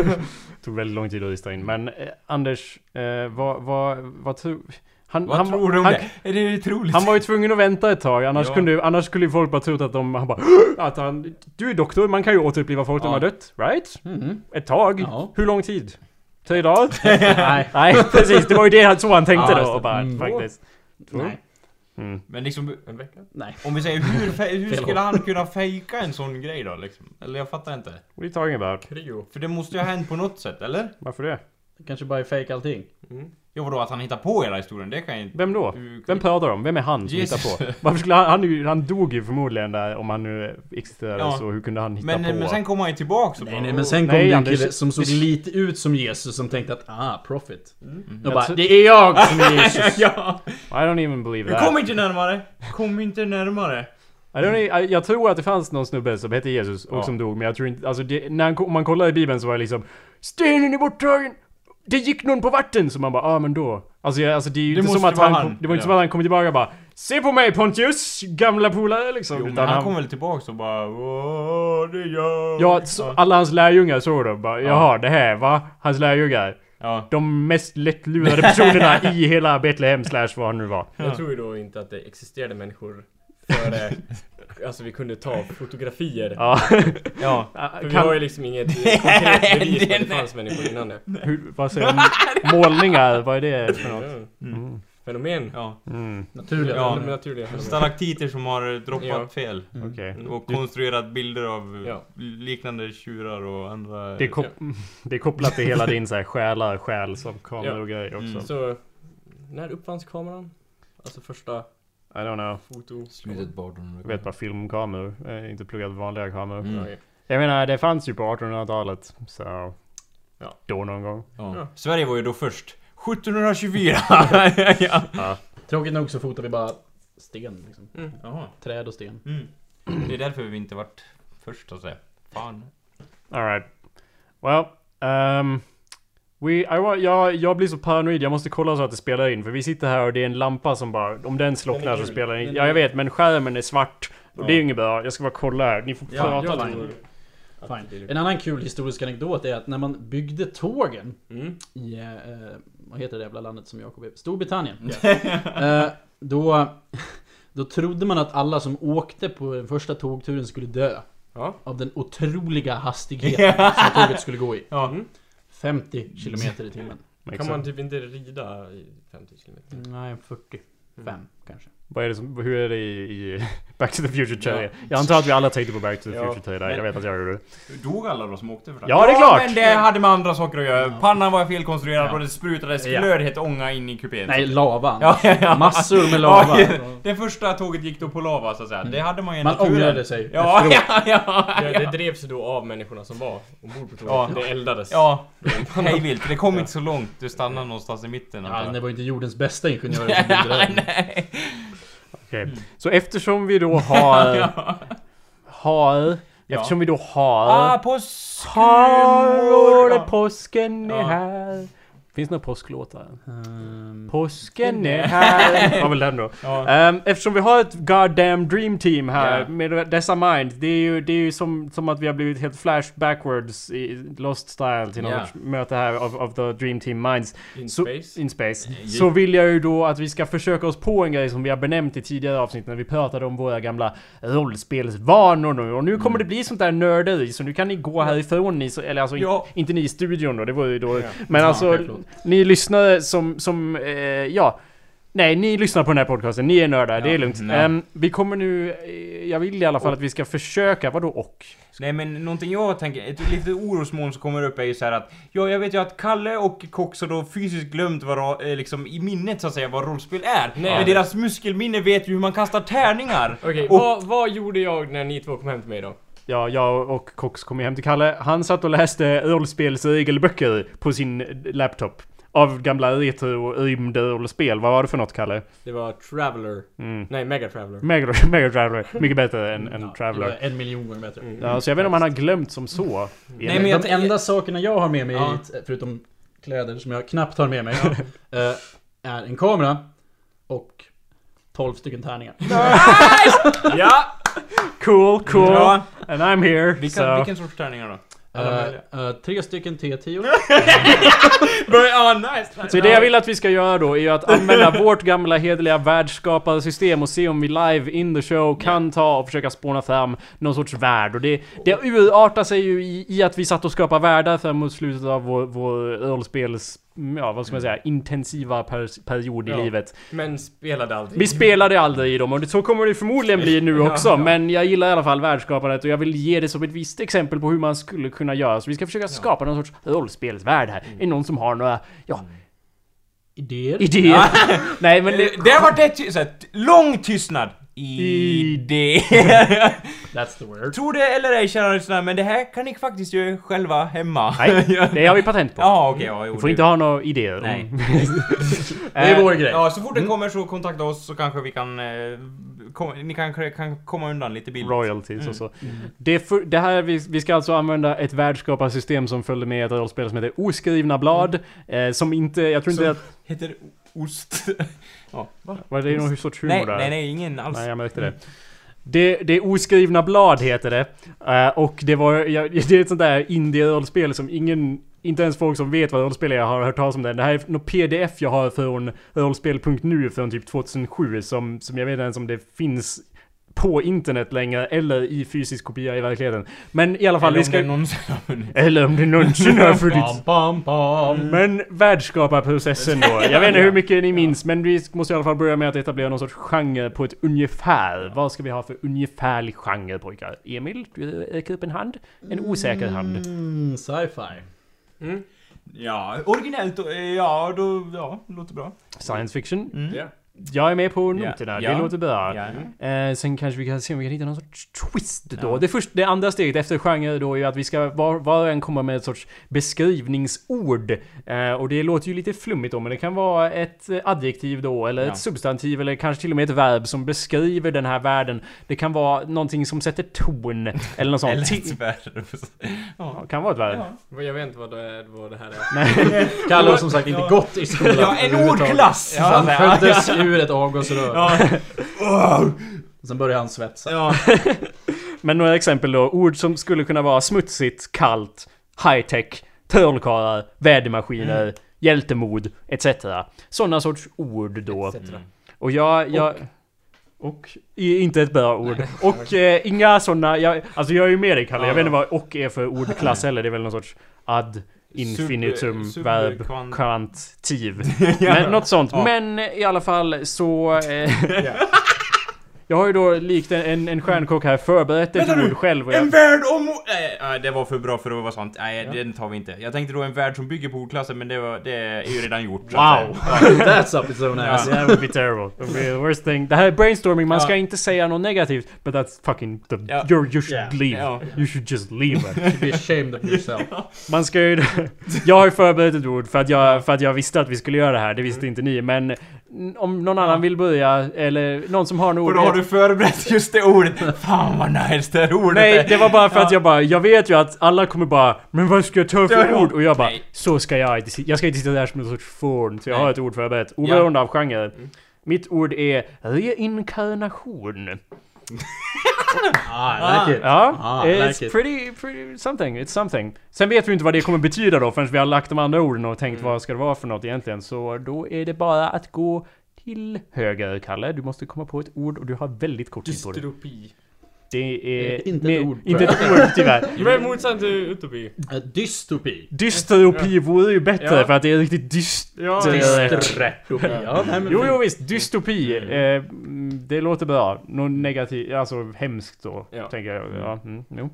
Tog väldigt lång tid att lista in. Men eh, Anders, eh, vad, vad, vad tror... Han,
Vad
han,
tror du om
han,
det? Är det otroligt?
han var ju tvungen att vänta ett tag, annars,
Ja.
kunde, ju- annars skulle ju folk bara trott att de... Han bara, att han, du är doktor, man kan ju återuppliva folk som
Ja.
har dött. Right?
Mhm.
Ett tag?
Ja.
Hur lång tid? Tre dagar?
Nej.
Nej precis, det var ju det han- så han tänkte
Ja, just
då
det.
och bara,
Mm.
faktiskt.
Nej.
Mm.
Men liksom
En vecka?
Nej.
om vi säger hur, fe- hur
Fel
skulle
håll.
han kunna fejka en sån grej då liksom? Eller jag fattar inte.
What are you talking about?
Kryo.
För det måste ju ha hänt på något sätt eller?
Varför det?
Kanske bara är fake allting.
Jo vadå att han hittar på hela historien? Det kan jag inte...
Vem då? Vem pratar om? Vem är han som
Jesus.
hittar på? Varför skulle han, han, är ju- han dog ju förmodligen där om han nu existerade
Ja.
så hur kunde han hitta
Men, eh,
på?
men sen kommer han ju tillbaks och
Nej,
bara,
nej men sen kom
Nej,
det en
Anders,
kille
det-
som såg lite ut som Jesus som tänkte att ah, profit. Och
Jag
bara
tror-
det är jag som är Jesus.
ja!
I don't even believe
Du
that.
kom inte närmare! Kom inte närmare!
I don't, e- I- jag tror att det fanns någon snubbe som hette Jesus och
Ja.
som dog men jag tror inte, alltså det, när han, kom- om man kollar i bibeln så var det liksom Stenen är borttagen! Det gick någon på vatten! Så man bara, ah men då. Alltså, jag, alltså det är ju
Det
inte som
måste
att
vara
han,
han.
Kom, det var inte
Ja.
som att han kom tillbaka och bara Se på mig Pontius! Gamla polare liksom.
Jo, men
Utan
han, kom väl tillbaks och bara Åh, det är jag!
Ja, så, alla hans lärjungar såg det bara, jaha det här va? Hans lärjungar.
ja.
De mest lättlurade personerna i hela Betlehem slash vad han nu var.
Jag tror ju då inte att det existerade människor före... alltså vi kunde ta fotografier.
Ja.
ja.
För vi har
Kan,
ju liksom inget eh, konkret bevis på att det fanns människor innan det.
hur, vad säger du? Målningar, vad är det för något?
Mm. Fenomen.
ja.
Mm,
Naturliga.
Ja.
Ja. Naturliga fenomen.
Stalaktiter som har droppat
Ja.
fel.
Mm.
okej.
Och konstruerat bilder av
Ja.
liknande tjurar och andra...
Det, är kop- det är kopplat till hela din så här själar, själ som kameror och grejer också.
Mm.
Så, när uppfanns kameran? Alltså första
I
Mm.
don't know.
foto...
Slutet på 1800
Jag vet bara filmkameror. Jag har inte pluggat vanliga kameror.
Mm.
Ja, ja.
Jag menar, det fanns ju på 1800-talet. Så...
Ja.
Då någon gång.
Ja.
Ja.
Sverige var ju då först. 1724! ja.
Tråkigt nog så fotar vi bara sten liksom.
Jaha.
Träd och sten.
Mm. Det är därför vi inte vart först så att säga. Fan.
Alright. Well, um, we, I, wa- jag, jag blir så paranoid, jag måste kolla så att det spelar in. För vi sitter här och det är en lampa som bara, om den slocknar så spelar den in. Ja, jag vet, men skärmen är svart. Och det är ju inget bra. Jag ska bara kolla här. Ni får
Ja,
prata
jag
lite.
tror- Fine. En annan kul historisk anekdot är att när man byggde tågen
Mm.
i, eh, eh, vad heter det jävla landet som Jakob är? Storbritannien. eh, då, då trodde man att alla som åkte på den första tågturen skulle dö.
Ja.
Av den otroliga hastigheten som tåget skulle gå i.
Ja.
50 kilometer i timmen.
Kan man typ inte rida i 50 kilometer?
Mm.
Nej, 45 kanske.
Vad är det som, hur är det i, i Back to the Future 3? Jag antar att vi alla tänkte på Back to the
Ja,
Future 3 där. Jag
men-
vet att jag gjorde det.
Dog alla då som åkte för det?
Ja, det är klart!
men det hade med andra saker att göra. Pannan var felkonstruerad
Ja.
och det sprutades
Ja.
glödhet ånga in i kupén.
Nej, lavan.
Ja, ja, ja.
Massor med lava.
Ja, det första tåget gick då på lava så att säga. Det hade man ju i
Man
naturen.
ångrade sig
Ja,
efteråt.
ja, ja.
Det, det drevs då av människorna som var ombord på
Ja.
tåget. Det eldades.
Ja, hej vilt. Det kom inte så långt. Du stannade någonstans i mitten.
Ja,
antar
det
jag.
var ju inte jordens bästa ingenjörer som byggde det här.
Okej. Så eftersom vi då har... har...
Ja.
Eftersom vi då har...
Ah, påsk...
Hallå, det
Ja.
är påsken är
Ja.
här. Finns det några påsklåtar?
Ehm,
Påsken är här. Vad vill den då?
Ja.
Ehm, eftersom vi har ett goddamn dream team här
Ja.
med dessa mind. Det är ju, det är ju som, som att vi har blivit helt flash backwards i lost style till något
Ja.
sorts möte här av, av the dream team minds.
In
Så-
space.
In space. Så vill jag ju då att vi ska försöka oss på en grej som vi har benämnt i tidigare avsnitt när vi pratade om våra gamla rollspelsvanor nu. Och nu kommer det bli sånt där nörderi så nu kan ni gå härifrån ni, så- eller alltså in-
Ja.
inte ni i studion då, det var ju då. Men
Ja,
alltså,
självklart.
ni lyssnare som, som eh, ja. Nej, ni lyssnar på den här podcasten, ni är nördar, det är lugnt.
nej.
Ehm, vi kommer nu, eh, jag vill i alla fall att vi ska försöka, vadå och?
Nej men någonting jag tänker, ett litet orosmoln som kommer upp är ju så här att Ja jag vet ju att Kalle och Cox har då fysiskt glömt vad ra- eh, liksom i minnet så att säga vad rollspel är
Nej.
Men deras muskelminne vet ju hur man kastar tärningar!
Okej,
Och-
vad, vad gjorde jag när ni två kom hem till mig då?
Ja, jag och Cox kom ju hem till Kalle. Han satt och läste rollspelsregelböcker på sin laptop. Av gamla retro och rymdrollspel. Vad var det för något, Kalle?
Det var Traveller.
Mm.
Nej, Mega Traveller.
Mega, Mega Traveler. Mycket bättre än, än
ja,
Traveler.
En miljon gånger bättre.
Ja, så jag vet inte om han har glömt som så.
Nej, men jag
de
tänker-
enda sakerna jag har med mig
Ja.
hit, förutom kläder som jag knappt har med mig, eh, är en kamera och 12 stycken tärningar.
ja!
Cool, cool.
Ja.
And I'm here.
Vilka,
so.
Vilken sorts tärningar då? Alla möjliga.
Eh, eh, tre stycken T10.
Ja, nice!
Så det jag vill att vi ska göra då är ju att använda vårt gamla hederliga världsskaparsystem och se om vi live in the show kan ta och försöka spåna fram någon sorts värld. Och det, det urartar sig ju i, i att vi satt och skapade världar fram mot slutet av vår, vår rollspels... Ja, vad ska man säga? Intensiva per, period i
Ja.
livet.
Men spelade aldrig.
Vi spelade aldrig i dem och det, så kommer det förmodligen bli nu också. Men jag gillar i alla fall världsskapandet och jag vill ge det som ett visst exempel på hur man skulle kunna göra. Så vi ska försöka skapa någon sorts rollspelsvärld här. Är det någon som har några, ja,
Mm.
Idéer.
idéer? Nej men det,
Eh, Det var det ty- så här, t- lång tystnad! I det.
That's the word.
Tror det eller ej kära lyssnare, men det här kan ni faktiskt göra själva hemma.
Nej, det har vi patent på.
Ja okej, ja jo,
vi får
det-
inte ha några idéer. Mm.
Nej.
Det är
Eh,
vår grej.
Ja, så fort det kommer så kontakta oss så kanske vi kan... Eh, kom, ni kanske kan komma undan lite billigt.
royalties och
Mm.
så. Det, är för, det här, vi, vi ska alltså använda ett världsskaparsystem som följde med ett rollspel som heter Oskrivna blad. Eh, som inte, jag tror inte
Mm. Som-
att...
Heter det ost? ja. Va?
Var det någon sorts humor
Nej,
där?
nej, nej, ingen alls.
Nej, jag märkte det. Mm. Det, det är Oskrivna blad heter det. Eh, och det var, jag, det är ett sånt där indie-rollspel som ingen, inte ens folk som vet vad rollspel är har hört talas om det. Det här är något pdf jag har från rollspel.nu från typ 2007 som, som jag vet inte ens om det finns på internet längre eller i fysisk kopia i verkligheten. Men i alla fall, vi
Eller om
ska...
det någonsin har hunnit.
Eller om det någonsin har funnits.
Bam, bam, bam.
Mm. Men världsskaparprocessen då. Jag vet inte hur mycket ni minns men vi måste i alla fall börja med att etablera någon sorts genre på ett ungefär. Vad ska vi ha för ungefärlig genre pojkar? Emil, du räcker upp en hand. En osäker hand.
Mm, sci-fi.
Ja, originellt och, eh, ja, då, ja, låter bra.
Science fiction.
Mm.
Ja.
Jag är med på noterna,
Ja.
det låter bra.
Ja.
Eh, sen kanske vi kan se om vi kan hitta någon sorts twist då. Det, först, det andra steget efter genre då är ju att vi ska var, var och en komma med ett sorts beskrivningsord. Eh, och det låter ju lite flummigt då, men det kan vara ett eh, adjektiv då, eller
Ja.
ett substantiv, eller kanske till och med ett verb som beskriver den här världen. Det kan vara någonting som sätter ton, eller något sånt.
Eller
Ti-
tyvärr.
Ja, kan vara ett verb.
Vad- Jag vet inte vad det, vad det här är.
Kalle har som sagt inte gått i skolan
Ja, en
överhuvudtaget.
ordklass! så att
Han
säga.
föddes ur ett avgasrör.
Ja. Åh,
Och sen börjar han svetsa.
Ja.
Men några exempel då. Ord som skulle kunna vara smutsigt, kallt, high-tech, trollkarlar, vädermaskiner,
Mm.
hjältemod, etc. Sådana sorts ord då. Och jag... jag och. i- inte ett bra ord. Och eh, inga sådana... Jag, alltså jag är ju med dig Kalle, jag
Ja,
vet inte
ja.
vad och är för ordklass heller. Det är väl någon sorts ad infinitum
Sub-
verb
subkvant-
kvantiv. Men något sånt.
Ja.
Men i alla fall så... Eh, jag har ju då likt en, en, en stjärnkock här förberett ett
Vänta nu!
ord själv. Och jag,
En värld om... Nej, nej, det var för bra för att vara sant. Nej, den tar vi inte. Jag tänkte då en värld som bygger på ordklassen, men det, var, det är ju redan gjort. så att
Wow.
säga.
That's up its own ass.
That would be terrible. That would be the worst thing. Det här är brainstorming, man ska inte säga något negativt. But that's fucking... The,
Ja.
you're, you should
Ja.
leave.
Ja.
You should just leave.
You should be ashamed of yourself.
Man ska ju... Jag har ju förberett ett ord för att, jag, för att jag visste att vi skulle göra det här. Det
Mm.
visste inte ni. Men om någon annan vill börja, eller någon som har något
Och då har du förberett just det ordet. Fan vad nice det här ordet
Nej,
är.
det var bara för att jag bara, jag vet ju att alla kommer bara Men vad ska jag ta
Ja,
för
ja.
ord? Och jag bara,
Nej.
så ska jag inte sitta, jag ska inte sitta där som en sorts fån Så jag
Nej. Mm.
har ett ord förberett, oberoende av genre Mitt ord är reinkarnation
Ah, I like it.
Ja,
Ah, I
it's
like it.
pretty, pretty something, it's something Sen vet vi inte vad det kommer betyda då förrän vi har lagt de andra orden och
Mm.
tänkt vad ska det vara för något egentligen Så då är det bara att gå till höger, Kalle. Du måste komma på ett ord och du har väldigt kort tid på det.
Dystopi.
Det är...
Eh, Inte ett
med-
ord, tror
Inte
jag.
ett ord tyvärr.
Det var motsatsen till utopi.
Eh, Dystopi.
Dystopi vore ju bättre
Ja.
för att det är riktigt dyst...
Ja,
Dystrepopi. Ja, nej, men
Jo, jo visst. Dystopi. Eh, mm, det låter bra. Något negativt, alltså hemskt då.
Ja.
Tänker jag. Ja, mm, jo.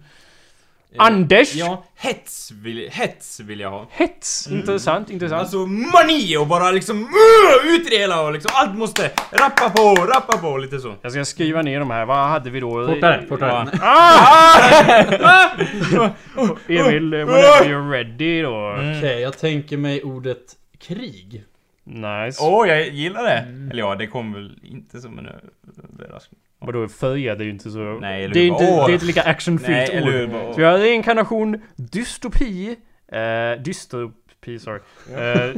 Eh,
Anders!
Ja, hets vill, hets vill jag ha.
Hets!
Mm.
Intressant, intressant.
Alltså mani och bara liksom uh, ut i det hela och liksom allt måste rappa på, rappa på lite så.
jag ska skriva ner de här. Vad hade vi då?
Fortare, fortare.
Emil, eh,
Ah!
whenever you're ready då.
Mm.
Okej, jag tänker mig ordet krig.
Nice.
Åh, jag gillar det!
Mm.
Eller ja, det kom väl inte som en överraskning.
Vadå, färg är det ju inte så...
Nej, eller
det, är
hur?
inte,
Åh.
det är inte lika actionfyllt
Nej, eller hur?
ord. Så vi har reinkarnation, dystopi, eh, dystopi, sorry. Eh,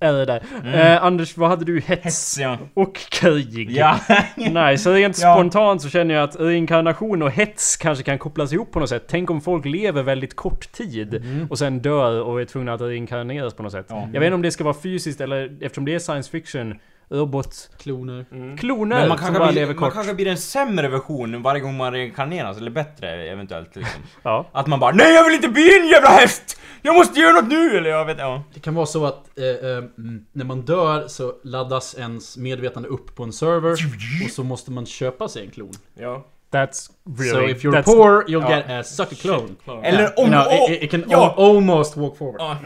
är det där. Eh, Anders, vad hade du? Hets,
Mm. Hets, ja.
och krig.
Ja.
Nej, så rent
Ja.
spontant så känner jag att reinkarnation och hets kanske kan kopplas ihop på något sätt. Tänk om folk lever väldigt kort tid
Mm.
och sen dör och är tvungna att reinkarneras på något sätt.
Ja.
Jag vet inte om det ska vara fysiskt eller eftersom det är science fiction, robot,
Kloner.
kloner
Men man
som bara
kanske,
lever
blir, man
kort.
kanske blir en sämre version varje gång man reinkarneras, eller bättre eventuellt liksom.
Ja.
Att man bara NEJ JAG VILL INTE BLI EN JÄVLA HÄST! JAG MÅSTE GÖRA NÅT NU! Eller jag vet ja.
Det kan vara så att eh, eh, mm, när man dör så laddas ens medvetande upp på en server och så måste man köpa sig en klon.
ja.
That's
so
really...
if you're
that's,
poor you'll
Ja.
get a sucker clone.
Eller om...
You know,
åh,
it, it can
ja.
al- almost walk forward.
Ja.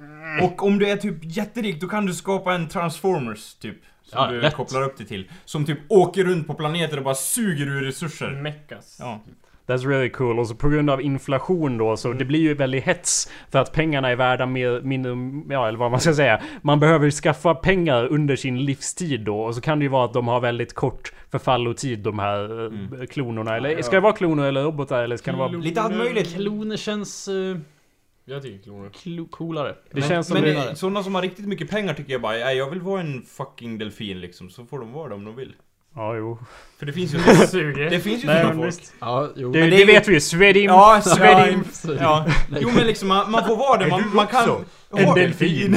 Mm.
Och om du är typ jätterik, då kan du skapa en Transformers typ. Som
Ja,
du
lätt.
kopplar upp det till. Som typ åker runt på planeter och bara suger ur
Mm.
resurser.
Meckas.
Ja.
That's really cool. Och så på grund av inflation då
Mm.
så det blir ju väldigt hets för att pengarna är värda mer, mindre, ja eller vad man ska säga. Man behöver ju skaffa pengar under sin livstid då och så kan det ju vara att de har väldigt kort förfallotid de här eh,
Mm.
klonorna. Eller ska det vara kloner eller robotar eller ska det vara...
Lite allt möjligt.
Kloner känns eh,
Jag tycker kloner.
klo- coolare.
Det känns som...
Men
det-
det, sådana som har riktigt mycket pengar tycker jag bara, nej jag vill vara en fucking delfin liksom. Så får de vara det om de vill.
Ja, jo.
För det finns ju
Suger.
Det finns ju
Nej,
såna
men
folk.
visst.
Ja, jo.
Det,
Men det
det
är-
vet vi ju. Svedim.
Ja,
Svedim.
ja, ja. Jo men liksom man, man får vara det, man, man kan...
En
Har-
delfin.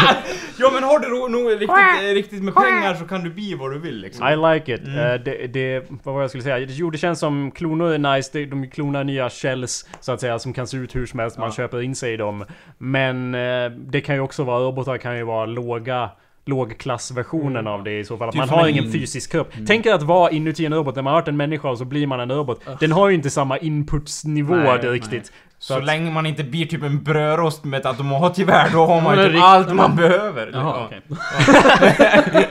Ja men har du ro- nog riktigt, eh, riktigt med pengar så kan du bli vad du vill liksom.
I like it. Eh, det, det, vad var jag skulle säga? Jo, det känns som kloner är nice. De, de klonar nya shells så att säga som kan se ut hur som helst. Man köper in sig i dem. Men eh, det kan ju också vara robotar kan ju vara låga lågklassversionen av det i så fall. Att
Typ
man
som
har
en-
ingen fysisk kropp.
Mm.
Tänk er att vara inuti en robot. När man har varit en människa och så blir man en robot. Den har ju inte samma inputsnivå
Nej,
det riktigt.
Så,
att-
länge man inte blir typ en brödrost med ett automatgevär, då har man
Men
ju
en
typ
rikt-
allt man behöver. liksom.
Jaha,
Ja.
okej.
Det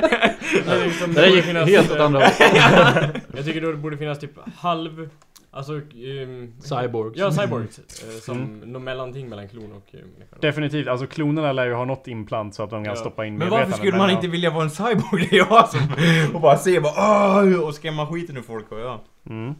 är liksom-
Det där gick
finnas-
helt åt andra hållet.
Jag tycker då det borde finnas typ halv... Alltså... Um,
Cyborgs.
Ja, cyborgs. eh, som något mellanting mellan klon och eh, människa.
Definitivt. Alltså klonerna lär ju ha något implant så att de kan
Ja.
stoppa in
Men varför
medvetande,
skulle man
ja.
inte vilja vara en cyborg? Det är jag som... Och bara se bara "Åh", och skrämma skiten ur folk och ja.
Mm.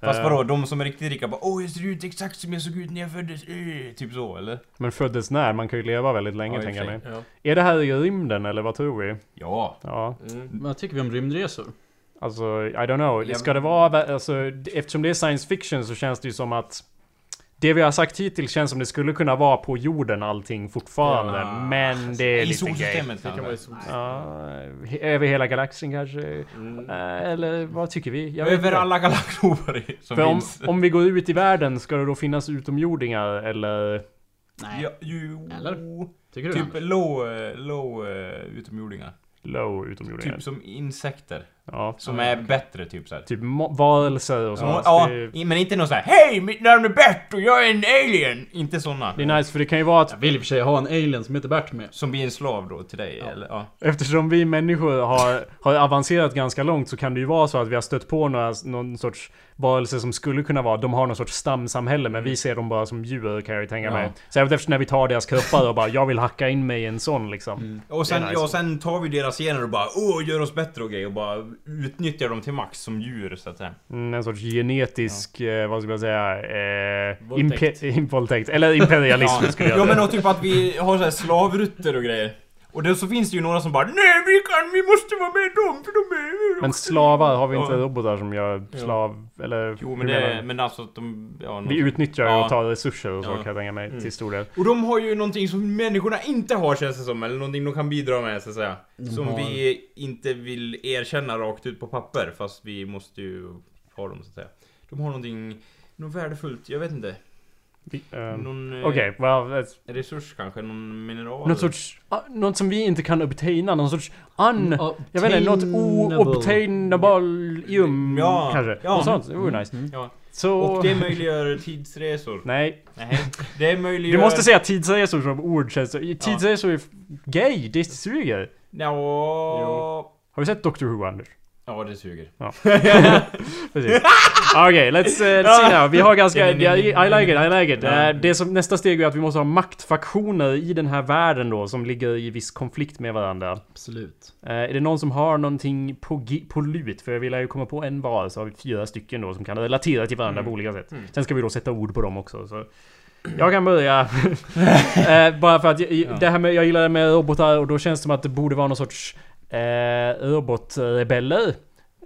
Fast
Eh,
vadå, de som är riktigt rika bara Åh jag ser ut exakt som jag såg ut när jag föddes, eh", typ så eller?
Men föddes när? Man kan ju leva väldigt länge
Ja, i och
tänker jag
för
mig.
Ja.
Är det här i rymden eller vad tror vi?
Ja.
Ja.
Mm.
Vad tycker vi om rymdresor?
Alltså, I don't know.
Ja,
Ska det vara, vä- alltså, d- eftersom det är science fiction så känns det ju som att det vi har sagt hittills känns som det skulle kunna vara på jorden allting fortfarande.
Ja. alltså,
men det är
I
lite gay.
solsystemet kanske.
Ja, he- över hela galaxen kanske?
mm.
Eh, Eller vad tycker vi? Jag vet
Över
inte.
alla galaxer som
För om,
finns.
om vi går ut i världen, ska det då finnas utomjordingar eller?
Nej.
Ja, ju,
Eller? Tycker du
Typ
typ,
low, eh, low eh, utomjordingar.
Low utomjordingar?
Typ som insekter.
ja.
Som är bättre typ såhär.
Typ mo- varelser och
Ja,
sånt.
ja,
alltså Det, är-
men inte någon såhär Hej mitt namn är Bert och jag är en alien! Inte såna.
det är nice för det kan ju vara att
Jag vill i och för sig ha en alien som heter Bert med.
Som blir en slav då till dig eller? Ja.
Eftersom vi människor har, har avancerat ganska långt så kan det ju vara så att vi har stött på några, någon sorts varelser som skulle kunna vara, de har någon sorts stamsamhälle men
Mm.
vi ser dem bara som djur kan jag ju tänka
Ja.
mig. Särskilt eftersom när vi tar deras kroppar och bara jag vill hacka in mig i en sån liksom.
Och sen,
Det är nice.
ja, och sen tar vi deras gener och bara åh, gör oss bättre och grejer och bara utnyttjar dem till max som djur så att säga.
Mm, en sorts genetisk, eh, vad ska man säga? Eh,
Våldtäkt.
impe- im- våldtäkt. Eller imperialism skulle jag
ja
säga.
men och typ att vi har såhär slavrutter och grejer. Och då så finns det ju några som bara nej vi kan, vi måste vara med dem för de är...
Men slavar, har vi inte
Ja.
robotar som gör slav? Eller?
Jo
hur
men det,
menar du?
men alltså att de... Ja, någon-
Vi utnyttjar
Ja.
och tar resurser och så
Ja. Mm.
kan jag tänka mig till stor del.
Och de har ju någonting som människorna inte har känns det som, eller någonting de kan bidra med så att säga. Som
har-
vi inte vill erkänna rakt ut på papper, fast vi måste ju ha dem så att säga. De har någonting, något värdefullt, jag vet inte.
Vi- ehm,
Någon eh,
Okej, well, it's-
resurs kanske, någon mineral.
Något sorts, ah, något som vi inte kan obtaina, någon sorts un... Mm.
Mm.
Jag vet inte, något oobtainableium
Ja,
kanske.
ja.
Något sånt, det vore nice.
Mm.
Ja.
Så...
Och det möjliggör tidsresor.
Nej,
Nej, det möjliggör...
du måste säga tidsresor som ord känns det. Tidsresor är f- gay, det suger.
Ja.
Har du sett Doctor Who Anders?
ja, det suger.
Precis. Okej, let's, uh, let's see now. Vi har ganska...
Nej, nej, nej,
I like it, I like it.
Ja.
Eh, det som, nästa steg är att vi måste ha maktfaktioner i den här världen då som ligger i viss konflikt med varandra.
Absolut.
Eh, är det någon som har någonting på, gi- på lut? För jag vill ju komma på en var så har vi fyra stycken då som kan relatera till
Mm.
varandra på olika sätt. Sen ska vi då sätta ord på dem också. Så. Jag kan börja. eh, bara för att jag, det här med, jag gillar det med robotar och då känns det som att det borde vara någon sorts eh, robotrebeller.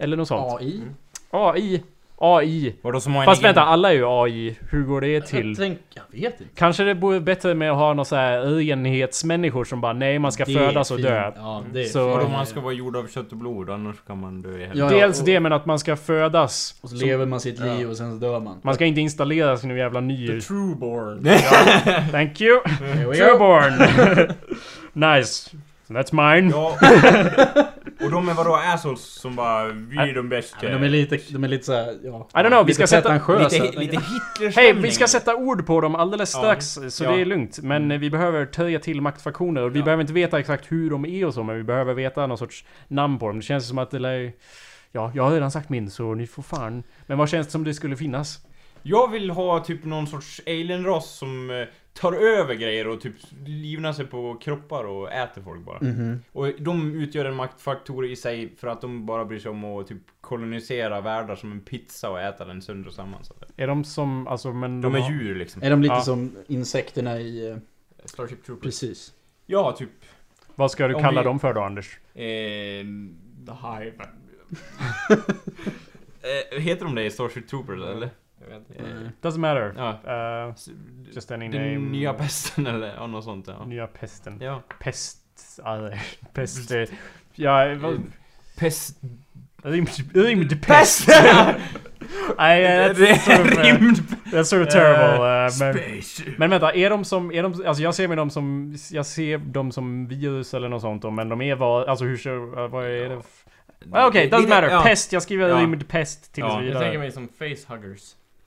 Eller något sånt.
AI?
AI. AI.
Vadå som har en
Fast
egen-
vänta, alla är ju AI. Hur går det till?
Jag, tänk, jag vet inte.
Kanske det vore bättre med att ha någon så här renhetsmänniskor som bara nej man ska
Det är
födas och
fint.
dö.
Ja, det är
Så-
Vadå
fint.
man ska vara gjord av kött och blod, annars kan man dö i helvete.
Ja, ja,
Dels
och-
det men att man ska födas.
Och så
som-
lever man sitt liv och sen så dör man.
Man ska inte installera sin jävla ny...
Trueborn.
Thank you!
Here we go.
Tureborn! nice! So that's mine.
Ja. Och de är vadå assholes som bara, vi är de bästa.
Ja, men de är lite, de är lite såhär, ja.
I don't know, vi ska sätta-
lite, lite
Hej,
Hitlerstämning.
vi ska sätta ord på dem alldeles
Ja.
strax, så
Ja. Mm.
det är lugnt. Men eh, vi behöver töja till maktfaktioner och vi
Ja.
behöver inte veta exakt hur de är och så, men vi behöver veta någon sorts namn på dem. Det känns som att det lär ju- Ja, jag har redan sagt min, så ni får fan... Men vad känns det som det skulle finnas?
Jag vill ha typ någon sorts alien-ras som eh, tar över grejer och typ livnar sig på kroppar och äter folk bara. Och de utgör en maktfaktor i sig för att de bara bryr sig om att typ kolonisera världar som en pizza och äta den sönder och samman. Så. att-
Är de som... Alltså, men...
De är
har-
djur liksom.
Är de lite
Ja.
som insekterna i... eh,
Starship Troopers.
Precis.
Ja, typ.
Vad ska du
Om
kalla
vi-
dem för då, Anders?
Eh,
The Hive.
eh, heter de det i Starship Troopers eller? Jag vet inte.
Eh,
Doesn't matter.
Ja.
Uh,
S-
just any name.
Den nya pesten eller ja, något sånt ja.
Nya pesten.
ja.
Pest... ja, Pest... eh, Ja, vad-
Eh, Pest...
rymd- rymdpest! Nej, eh, that's sort of, eh, that's sort of terrible. eh, men,
Space.
men vänta, är de som... Är de, alltså jag ser med dem som... Jag ser dem som virus eller något sånt då, men de är vad... Alltså hur ser... Vad är det? f- Ah, Okej,
Lite-
doesn't matter.
ja.
Pest, jag skriver
Ja.
rymdpest tills
Ja,
Jag tänker
vidare.
mig som facehuggers.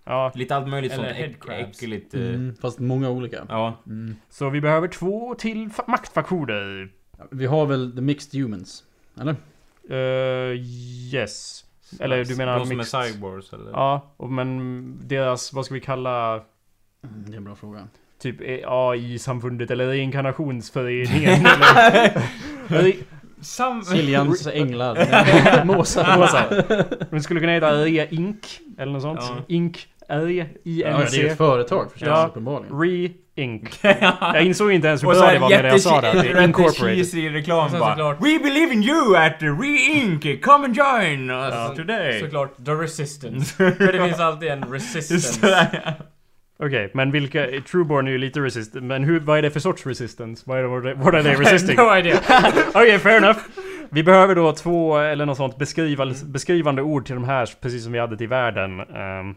Ja,
Lite allt möjligt
Eller
sånt äck-
headcrabs.
äckligt. eh,
Mm, fast många olika.
Ja.
Mm.
så vi behöver två till fa- maktfaktorer.
Vi har väl the mixed humans? Eller?
Eh, yes. Eller du menar
De som
mixed-
är cyborgs eller?
Ja, och men deras, vad ska vi kalla...
Mm, det är en bra fråga.
Typ AI-samfundet eller reinkarnationsföreningen eller... Re-
Sam...
Siljans änglar. Nej, Måsar.
vad sa jag? De skulle kunna heta Rea Inc. Eller något sånt.
Ja.
Inc.
Ja, det är ju
R-I-N-C.
ett företag förstås
Ja.
uppenbarligen.
Re-Inc. Jag insåg inte ens hur
Och så
bra det
här
var när jag sa det. att det är
jätte-
Incorporated.
cheesy reklam
Och sen
bara.
såklart-
We believe in you at the Re-Inc! Come and join us Alltså,
Ja.
today!
Såklart The Resistance. För det finns alltid en
Just
resistance.
det.
Okej, men vilka... Trueborn är ju lite resistant. Men hur, vad är det för sorts resistance? Vad är det, what are- what are they resisting?
No idea.
Okej, fair enough. Vi behöver då två eller något sånt beskriva, beskrivande ord till de här precis som vi hade till världen. Ehm,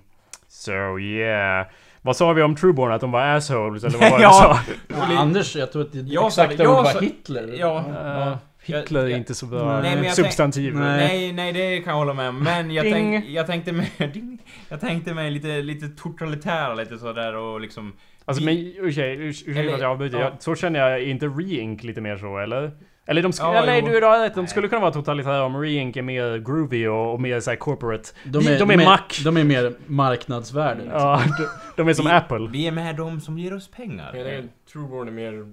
so yeah. Vad sa vi om Trueborn? Att de var assholes eller vad var det vi sa?
Ja.
Ja, Anders, jag tror att det
Jag sa-
exakta
jag
ordet
sa-
var Hitler.
Ja.
Eh, Hitler är
Jag- jag-
inte så bra.
Nej, men
jag
Substantiv.
tänk-
Nej,
Nej.
nej det kan jag hålla med om. Men jag,
Ding.
tänk, jag tänkte mig... Ding. Jag tänkte mig lite, lite totalitära lite sådär och liksom...
Alltså men ursäkta urs- ursäkta att jag avbryter.
ja.
Jag, så känner jag, är inte re-ink lite mer så eller? Eller de skulle,
Ja,
eller
jo.
du du har rätt, de
Nej.
skulle kunna vara totalitära om re-ink är mer groovy och, och mer såhär corporate.
De är,
de är mack.
De är mer marknadsvärden.
Ja, de, de är som
vi,
Apple.
Vi är med dem som ger oss pengar.
Jag tänker att Trueborn är mer...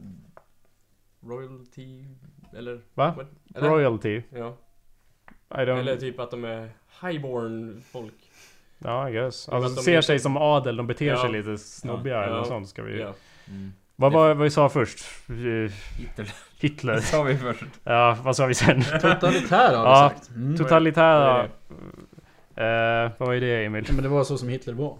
Royalty... Eller?
Va?
What? Eller?
Royalty.
Ja.
I don't...
Eller typ att de är highborn folk.
Ja, I guess.
Men
Alltså,
att
de
de
ser
är-
sig som adel, de beter
Ja.
sig lite snobbiga
Ja.
eller något
Ja.
sånt. Ska vi...
Ja.
Mm.
Vad var vad vi sa först? Eh,
Hitler.
Hitler.
Det sa vi först.
ja, vad sa vi sen?
Totalitära har
Ja.
vi sagt. Mm.
Totalitära...
Vad
Eh, vad var ju det Emil?
Ja, Men det var så som Hitler var.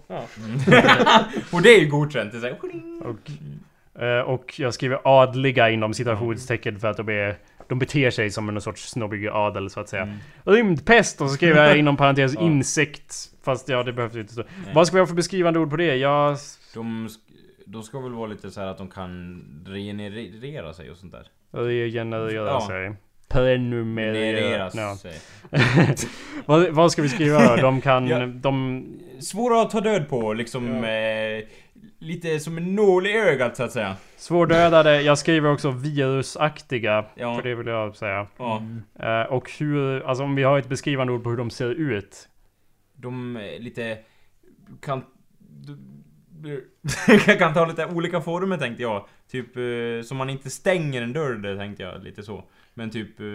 och det är ju godkänt. Det är så här,
Och, eh, och jag skriver adliga inom citationstecken för att de, är, de beter sig som en sorts snobbig adel så att säga.
Mm.
Rymdpest och så skrev jag inom parentes
Ja.
insekt. Fast ja, det behövs ju inte så. Vad ska vi ha för beskrivande ord på det? Jag...
De, sk- de ska väl vara lite så här att de kan regenerera sig och sånt där.
Regenerera
Ja.
sig. Prenumerera.
Genereras
Ja.
sig.
vad, vad ska vi skriva då? De kan...
Ja.
De...
Svåra att ta död på liksom. Eh, lite som en nål i ögat så att säga.
Svårdödade. Jag skriver också virusaktiga.
Ja.
För det vill jag säga.
Ja.
Mm.
Eh, och hur... Alltså om vi har ett beskrivande ord på hur de ser ut.
De eh, lite... Kan... du- kan ta lite olika former tänkte jag. Typ eh, som man inte stänger en dörr där tänkte jag. Lite så. Men typ... eh,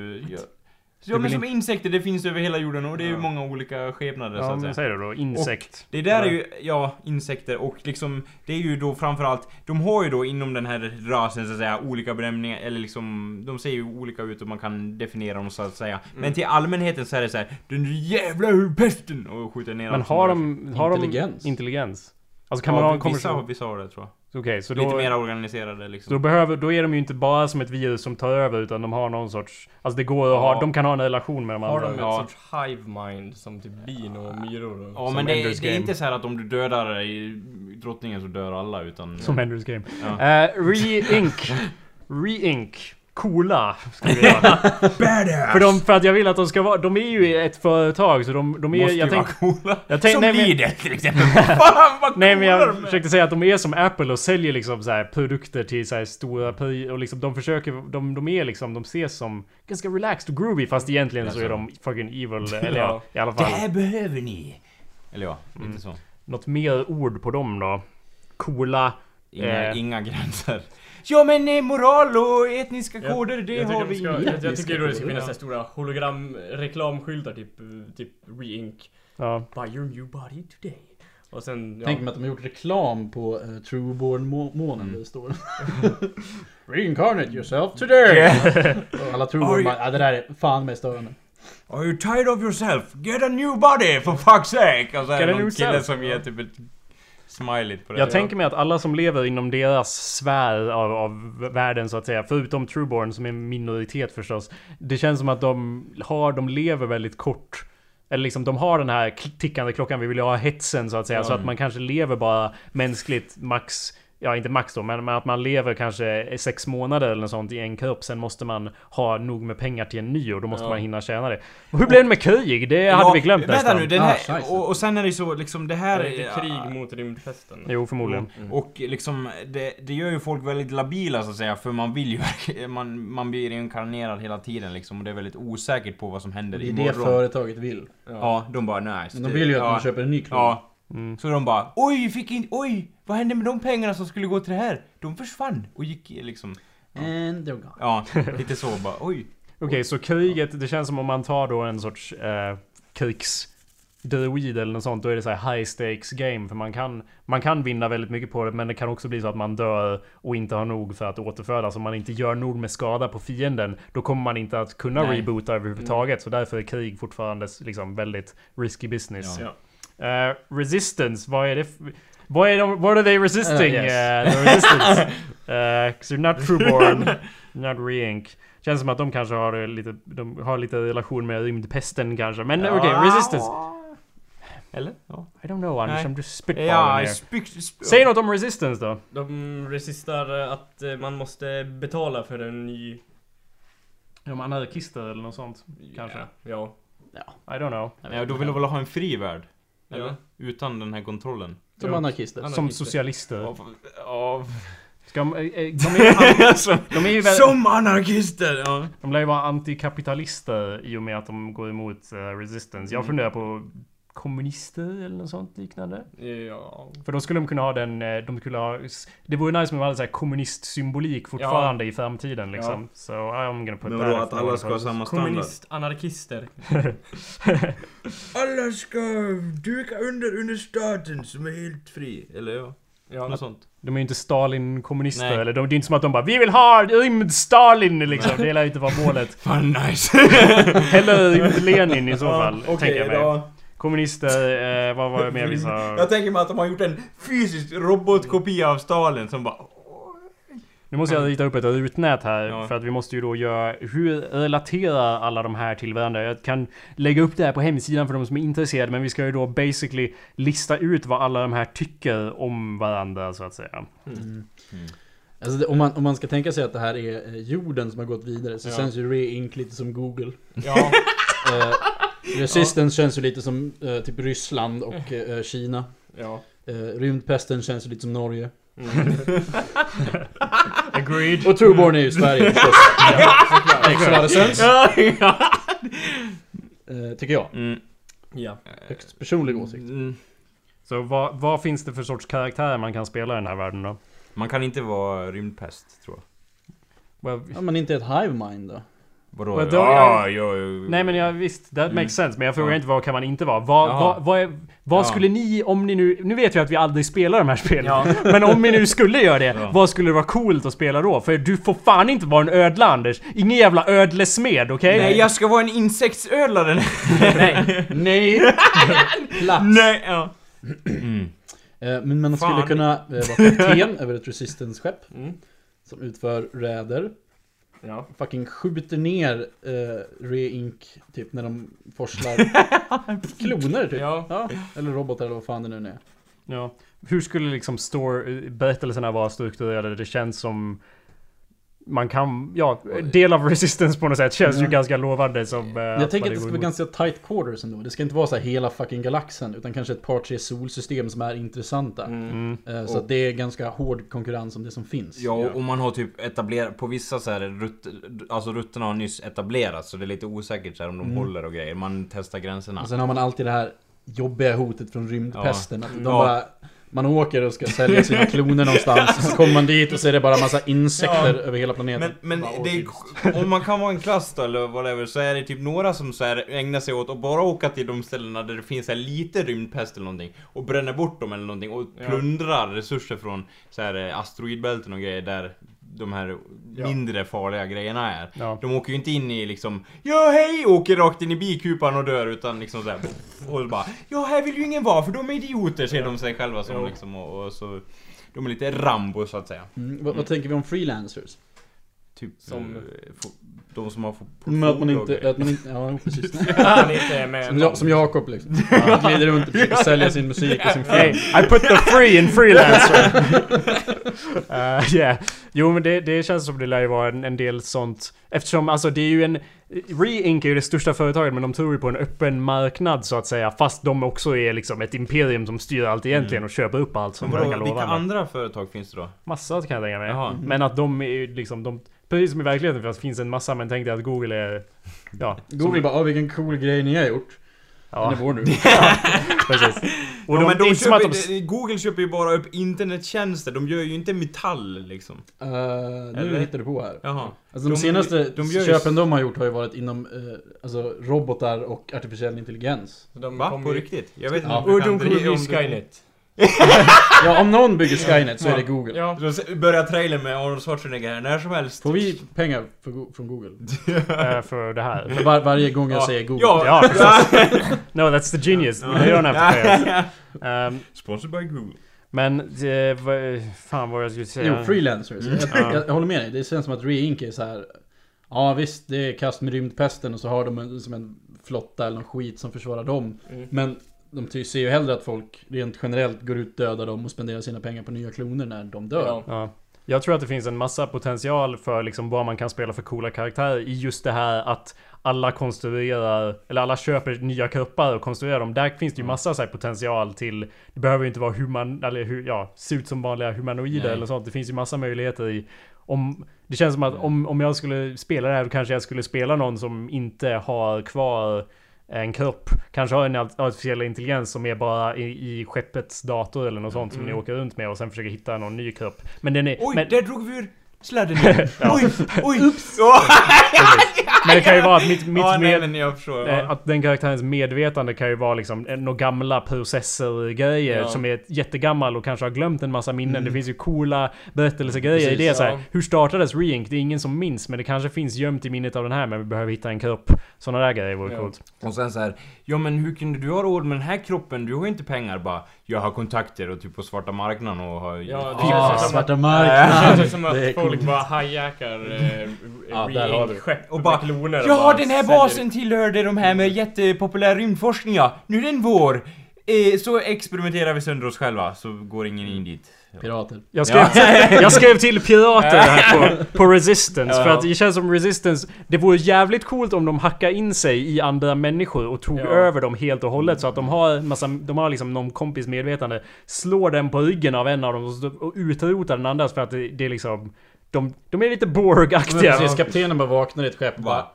Ja, ja men
vill
som insekter, det finns över hela jorden och det är ju
Ja.
många olika skepnader
Ja,
så att säga.
men säg det då. Insekt.
Det där är ju, ja, insekter och liksom Det är ju då framförallt De har ju då inom den här rasen så att säga olika benämningar eller liksom De ser ju olika ut och man kan definiera dem så att säga
Mm.
Men till allmänheten så är det så här Den jävla pesten! Och skjuter ner
Men
allt som
har
rör sig.
de... Har
Intelligens.
De intelligens? Alltså
Ja,
kan man ha en
vissa, har-
konversation?
vissa har det tror jag
Okej, så
Lite
då...
mer organiserade
Så då,
liksom
behöver, då är de ju inte bara som ett virus som tar över utan de har någon sorts... Alltså det går att ha...
Ja.
De kan ha en relation med de
Har
andra.
de ett
Ja.
sorts hive mind som typ bin och myror och...
Ja
som
men det,
Ender's
är- det är
Game.
inte så här att om du dödar i drottningen så dör alla utan
Som Enders Game.
Ja.
Eh, Re-ink. Re-ink. Coola. Ska vi göra. för, de, för att jag vill att de ska vara... De är ju ett företag så de, de är...
Måste
jag
ju vara
tänk,
coola
jag tänk,
Som
nej, men,
Lidl till exempel Fan vad
nej men
coola de
jag
är.
försökte säga att de är som Apple och säljer liksom så här produkter till så här stora pri- och liksom de försöker... De, de är liksom... De ses som ganska relaxed och groovy fast egentligen så är de
Alltså-
fucking evil. Eller ja, i
Ja.
alla
Det
fall.
här behöver ni! Eller ja, inte så.
Något mer ord på dem då? Coola.
Inga,
Eh.
inga gränser. Ja men eh, moral och etniska koder, det
jag
har
tycker, de
vi
ska,
inga.
jag, jag tycker då det ska
Ja.
finnas så här stora hologramreklamskyltar typ, eh, typ re-ink.
Ja.
Buy your new body today. Och sen, ja.
Tänk mig att de har gjort reklam på uh, Trueborn-månen där det står Reincarnate yourself today! Och alla
Are
Trueborn
you-
bara, ja, det där är fan mig störande.
Are you tired of yourself? Get a new body for fuck's sake! Och så
Get
är det
a new
någon kille
self.
som ger typ ett smiley på det.
Jag tänker mig att alla som lever inom deras sfär av, av världen så att säga, förutom Trueborn som är en minoritet förstås. Det känns som att de har, de lever väldigt kort. Eller liksom de har den här kl- tickande klockan, vi vill ju ha hetsen så att säga. Så att man kanske lever bara mänskligt max Ja inte max då men, men att man lever kanske sex månader eller något sånt i en kropp Sen måste man ha nog med pengar till en ny och då måste
Ja.
man hinna tjäna det Hur blev det med krig? Det hade vi glömt
Vänta
nästan
nu, den här,
Ah, nice.
och, och sen är det ju så liksom det här...
det är lite
eh,
krig mot rymdfesten.
Jo förmodligen
Och liksom, det, det gör ju folk väldigt labila så att säga, för man vill ju verkligen- man, man blir reinkarnerad hela tiden liksom och det är väldigt osäkert på vad som händer
Det är det
imorgon.
företaget vill.
Ja, de bara nice.
Men de vill ju att
ja,
man köper en ny klon.
Ja.
Mm.
Så de bara oj, vi fick inte, oj, vad hände med de pengarna som skulle gå till det här? De försvann och gick liksom,
And they're gone.
ja, lite så bara oj.
Okej, så kriget, det känns som om man tar då en sorts eh, krigs... do weed eller något sånt, då är det så här high stakes game. För man kan, man kan vinna väldigt mycket på det, men det kan också bli så att man dör och inte har nog för att återfödas. Om man inte gör nog med skada på fienden, då kommer man inte att kunna
Nej. Mm.
reboota överhuvudtaget. Så därför är krig fortfarande liksom väldigt risky business. Eh, resistance, vad är det? f- Vad är de, what are they resisting?
Eh,
Uh,
yes.
the resistance. Eh, 'cause you're not trueborn, not re-ink. Känns som att de kanske har eh, lite, de har lite relation med rymdpesten kanske. Men okej, resistance.
Eller? Ja.
I don't know Anders,
Nej.
om du spitballar
Ja,
yeah,
spykt... Sp-
Säg något om resistance då.
De resistar eh, att eh, man måste betala för en ny...
De anarkister eller något sånt kanske.
eh, Ja.
I don't know.
Nej, då vill du väl ha en fri värld?
Ja.
Eller? Utan den här kontrollen.
Som anarkister.
Anarkister.
Som socialister.
Av, av,
Ska de, eh, eh, de, är, ju- de är ju väl,
som anarkister! Ja.
De lär ju vara antikapitalister i och med att de går emot eh, resistance. Jag funderar på kommunister eller något sånt liknande.
eh, Ja.
För då skulle de kunna ha den, eh, de skulle ha... Det vore nice om de hade så här kommunistsymbolik fortfarande i framtiden liksom. So I'm gonna put
Men
that
vadå,
in
att
for
alla
all
ska ha samma standard?
Kommunist-anarkister.
Alla ska duka under, under staten som är helt fri, eller ja?
Ja.
Något sånt.
De är ju inte Stalin-kommunister
Nej.
eller de, det är inte som att de bara Vi vill ha rymd-Stalin liksom. Det lär ju inte vara målet.
Fan nice!
Eller rymd-Lenin i så fall.
okej
tänker jag mig.
då.
Kommunister, eh, vad var det mer vi sa?
Jag tänker mig att de har gjort en fysisk robotkopia av Stalin som bara...
Nu måste jag rita upp ett rutnät här
Ja.
för att vi måste ju då göra Hur relaterar alla de här till varandra? Jag kan lägga upp det här på hemsidan för de som är intresserade men vi ska ju då basically lista ut vad alla de här tycker om varandra så att säga.
Mm.
Alltså det, om, man, om man ska tänka sig att det här är eh, jorden som har gått vidare så
Ja.
känns ju re-ink lite som Google.
Ja,
Eh, Resistance känns ju lite som eh, typ Ryssland och
Mm.
eh, Kina.
ja.
Eh, rymdpesten känns ju lite som Norge.
Agreed.
Och Trueborn är ju
Mm.
Sverige förstås. Makes a lot of sense. Eh, tycker jag.
Mm.
Ja.
Högst personlig åsikt.
Mm.
Så vad, vad finns det för sorts karaktärer man kan spela i den här världen då?
Man kan inte vara rymdpest tror jag.
Well,
Ja men inte ett hive mind då?
Vadå?
Vadå?
Ja, ja, ja.
Nej men jag, visst, that
Mm.
makes sense. Men jag frågar
Ja.
inte vad kan man inte vara? Vad,
Jaha.
vad, vad, är, vad
Ja.
skulle ni, om ni nu... Nu vet jag att vi aldrig spelar de här spelen.
Ja.
Men om vi nu skulle göra det,
Ja.
vad skulle det vara coolt att spela då? För du får fan inte vara en ödla Anders! Ingen jävla ödlesmed, okej?
Nej, jag ska vara en insektsödlare!
Nej! Nej! Plats!
Nej, ja.
Mm.
Eh, men man
Fan.
skulle kunna eh, vara kapten över ett resistance-skepp.
Mm.
Som utför räder.
Ja.
Fucking skjuter ner eh, re-ink typ när de forslar kloner typ.
Ja.
Eller robotar eller vad fan det nu är.
Ja. Hur skulle liksom story, berättelserna vara strukturerade? Det känns som... Man kan... Ja, del av resistance på något sätt känns
Mm.
ju
Ja.
ganska lovande som... eh,
Jag tänker
man
att det ska
går
vara
emot.
ganska tight quarters ändå. Det ska inte vara så här hela fucking galaxen. Utan kanske ett par tre solsystem som är intressanta.
Mm.
Eh, Så att det är ganska hård konkurrens om det som finns.
Ja, och man har typ etablerat, på vissa så här rutt, alltså rutterna har nyss etablerats så det är lite osäkert så här om de
Mm.
håller och grejer. Man testar gränserna.
Och sen har man alltid det här jobbiga hotet från rymdpesten. Att de
Ja.
bara, man åker och ska sälja sina kloner någonstans. Så kommer man dit och så är det bara massa insekter
Ja.
över hela planeten.
Men, men
Bara, åh,
det
gud.
är, om man kan vara en klass då, eller whatever, så är det typ några som så här ägnar sig åt att bara åka till de ställena där det finns så här lite rymdpest eller någonting och bränner bort dem eller någonting och
Ja.
plundrar resurser från så här eh, asteroidbälten och grejer där de här mindre farliga grejerna är.
Ja.
De åker ju inte in i liksom Ja hej! Och åker rakt in i bikupan och dör utan liksom såhär Och bara Ja här vill ju ingen vara för de är idioter ser de sig själva som
Jo.
liksom och, och så De är lite Rambo så att säga
Mm, vad, vad tänker vi om freelancers?
Typ
Som-
som De som har fått
Men Mm, att man
portfolio och
inte...
grejer.
Att man inte ja, precis.
Han inte är med.
Som, jag, som Jakob liksom. Han glider runt och försöker sälja sin musik och sin
Hey,
film.
I put the free in freelancer! Eh, yeah. Jo men det, det känns som det lär ju vara en, en del sånt Eftersom alltså det är ju en Re-Ink är ju det största företaget men de tror ju på en öppen marknad så att säga Fast de också är liksom ett imperium som styr allt egentligen och köper upp allt som
Men vadå,
verkar
vilka Mm.
lovande
andra företag finns det då?
Massa kan jag tänka mig
Jaha.
Men att de är ju liksom de Precis som i verkligheten för att det finns en massa men tänk dig att Google är Ja
Google bara, "Ah, vilken cool grej ni har gjort.
Ja.
Den är vår nu.
Precis. Och
Ja,
de, det
men
är
de
inte som att
köper,
de...
Google köper ju bara upp internettjänster, de gör ju inte metall liksom.
Eh, nu
Eller?
hittar du på här.
Jaha.
Alltså de,
De-
senaste
de gör ju-
köpen de har gjort har ju varit inom eh, alltså, robotar och artificiell intelligens.
De
Va?
kommer
På
ju-
riktigt? Jag vet inte
Ja.
om
Och
kan
de kommer
dri-
bli
om du-
Skynet.
Ja, om någon bygger Skynet så är det Google.
Ja.
Då börjar trailern med Arnold Schwarzenegger här när som helst.
Får vi pengar för, Go- från Google?
eh, för det här.
För var, varje gång jag
Ja.
säger Google.
Ja!
Ja, precis. No, that's the genius. Det är den här um,
Sponsored by Google.
Men, eh, vad, fan vad jag skulle säga.
Jo, freelancers. Jag,
Ja.
jag, jag håller med dig. Det känns som att Reink är så här. Ja visst, det är kast med rymdpesten och så har de en, som en flotta eller någon skit som försvarar dem.
Mm.
Men de ty- ser ju hellre att folk rent generellt går ut, dödar dem och spenderar sina pengar på nya kloner när de dör.
Ja.
Ja. Jag tror att det finns en massa potential för liksom vad man kan spela för coola karaktärer i just det här att alla konstruerar, eller alla köper nya kroppar och konstruerar dem. Där finns det ju massa så här potential till, det behöver ju inte vara human, eller hur, ja, se ut som vanliga humanoider
Nej.
eller sånt. Det finns ju massa möjligheter i, om, det känns som att om, om jag skulle spela det här då kanske jag skulle spela någon som inte har kvar en kropp. Kanske har en art- artificiell intelligens som är bara i, i skeppets dator eller något sånt som ni åker runt med och sen försöker hitta någon ny kropp. Men den är...
Mm. Oj,
men,
där drog vi ur sladden igen. Oj, oj! Oops!
men det kan ju vara att mitt, mitt
Ja, nej
med,
men jag förstår.
eh,
Ja.
Att den karaktärens medvetande kan ju vara liksom eh, några gamla processergrejer
Ja.
som är jättegammal och kanske har glömt en massa minnen.
Mm.
Det finns ju coola berättelsegrejer i
Precis,
det. Så här,
ja.
hur startades Reink? Det är ingen som minns men det kanske finns gömt i minnet av den här men vi behöver hitta en kropp. Sådana där grejer vore
Ja.
coolt.
Och sen så här, ja men hur kunde du ha råd med den här kroppen? Du har ju inte pengar bara. Jag har kontakter och typ på svarta marknaden och har... typ
Ja, det
Ah,
känns som
svarta
Det
marknaden!
känns som
Det är
att folk
coolt.
bara hijackar eh,
Ja, där har du.
skepp
Och bara,
med kloner och
Ja,
bara
den här
säljer
basen tillhörde de här med jättepopulär rymdforskning ja. Nu är den vår. Eh, så experimenterar vi sönder oss själva, så går ingen in dit.
Pirater.
Jag skrev, jag skrev till pirater här på, på Resistance. För att det känns som Resistance, det vore jävligt coolt om de hackar in sig i andra människor och tog
Ja.
över dem helt och hållet. Så att de har en massa, de har liksom någon kompis medvetande. Slår den på ryggen av en av dem och så- och utrotar den andras för att det, det är liksom... De, de är lite
Men precis,
Borg-aktiga.
kaptenen bara vaknar i ett skepp och bara...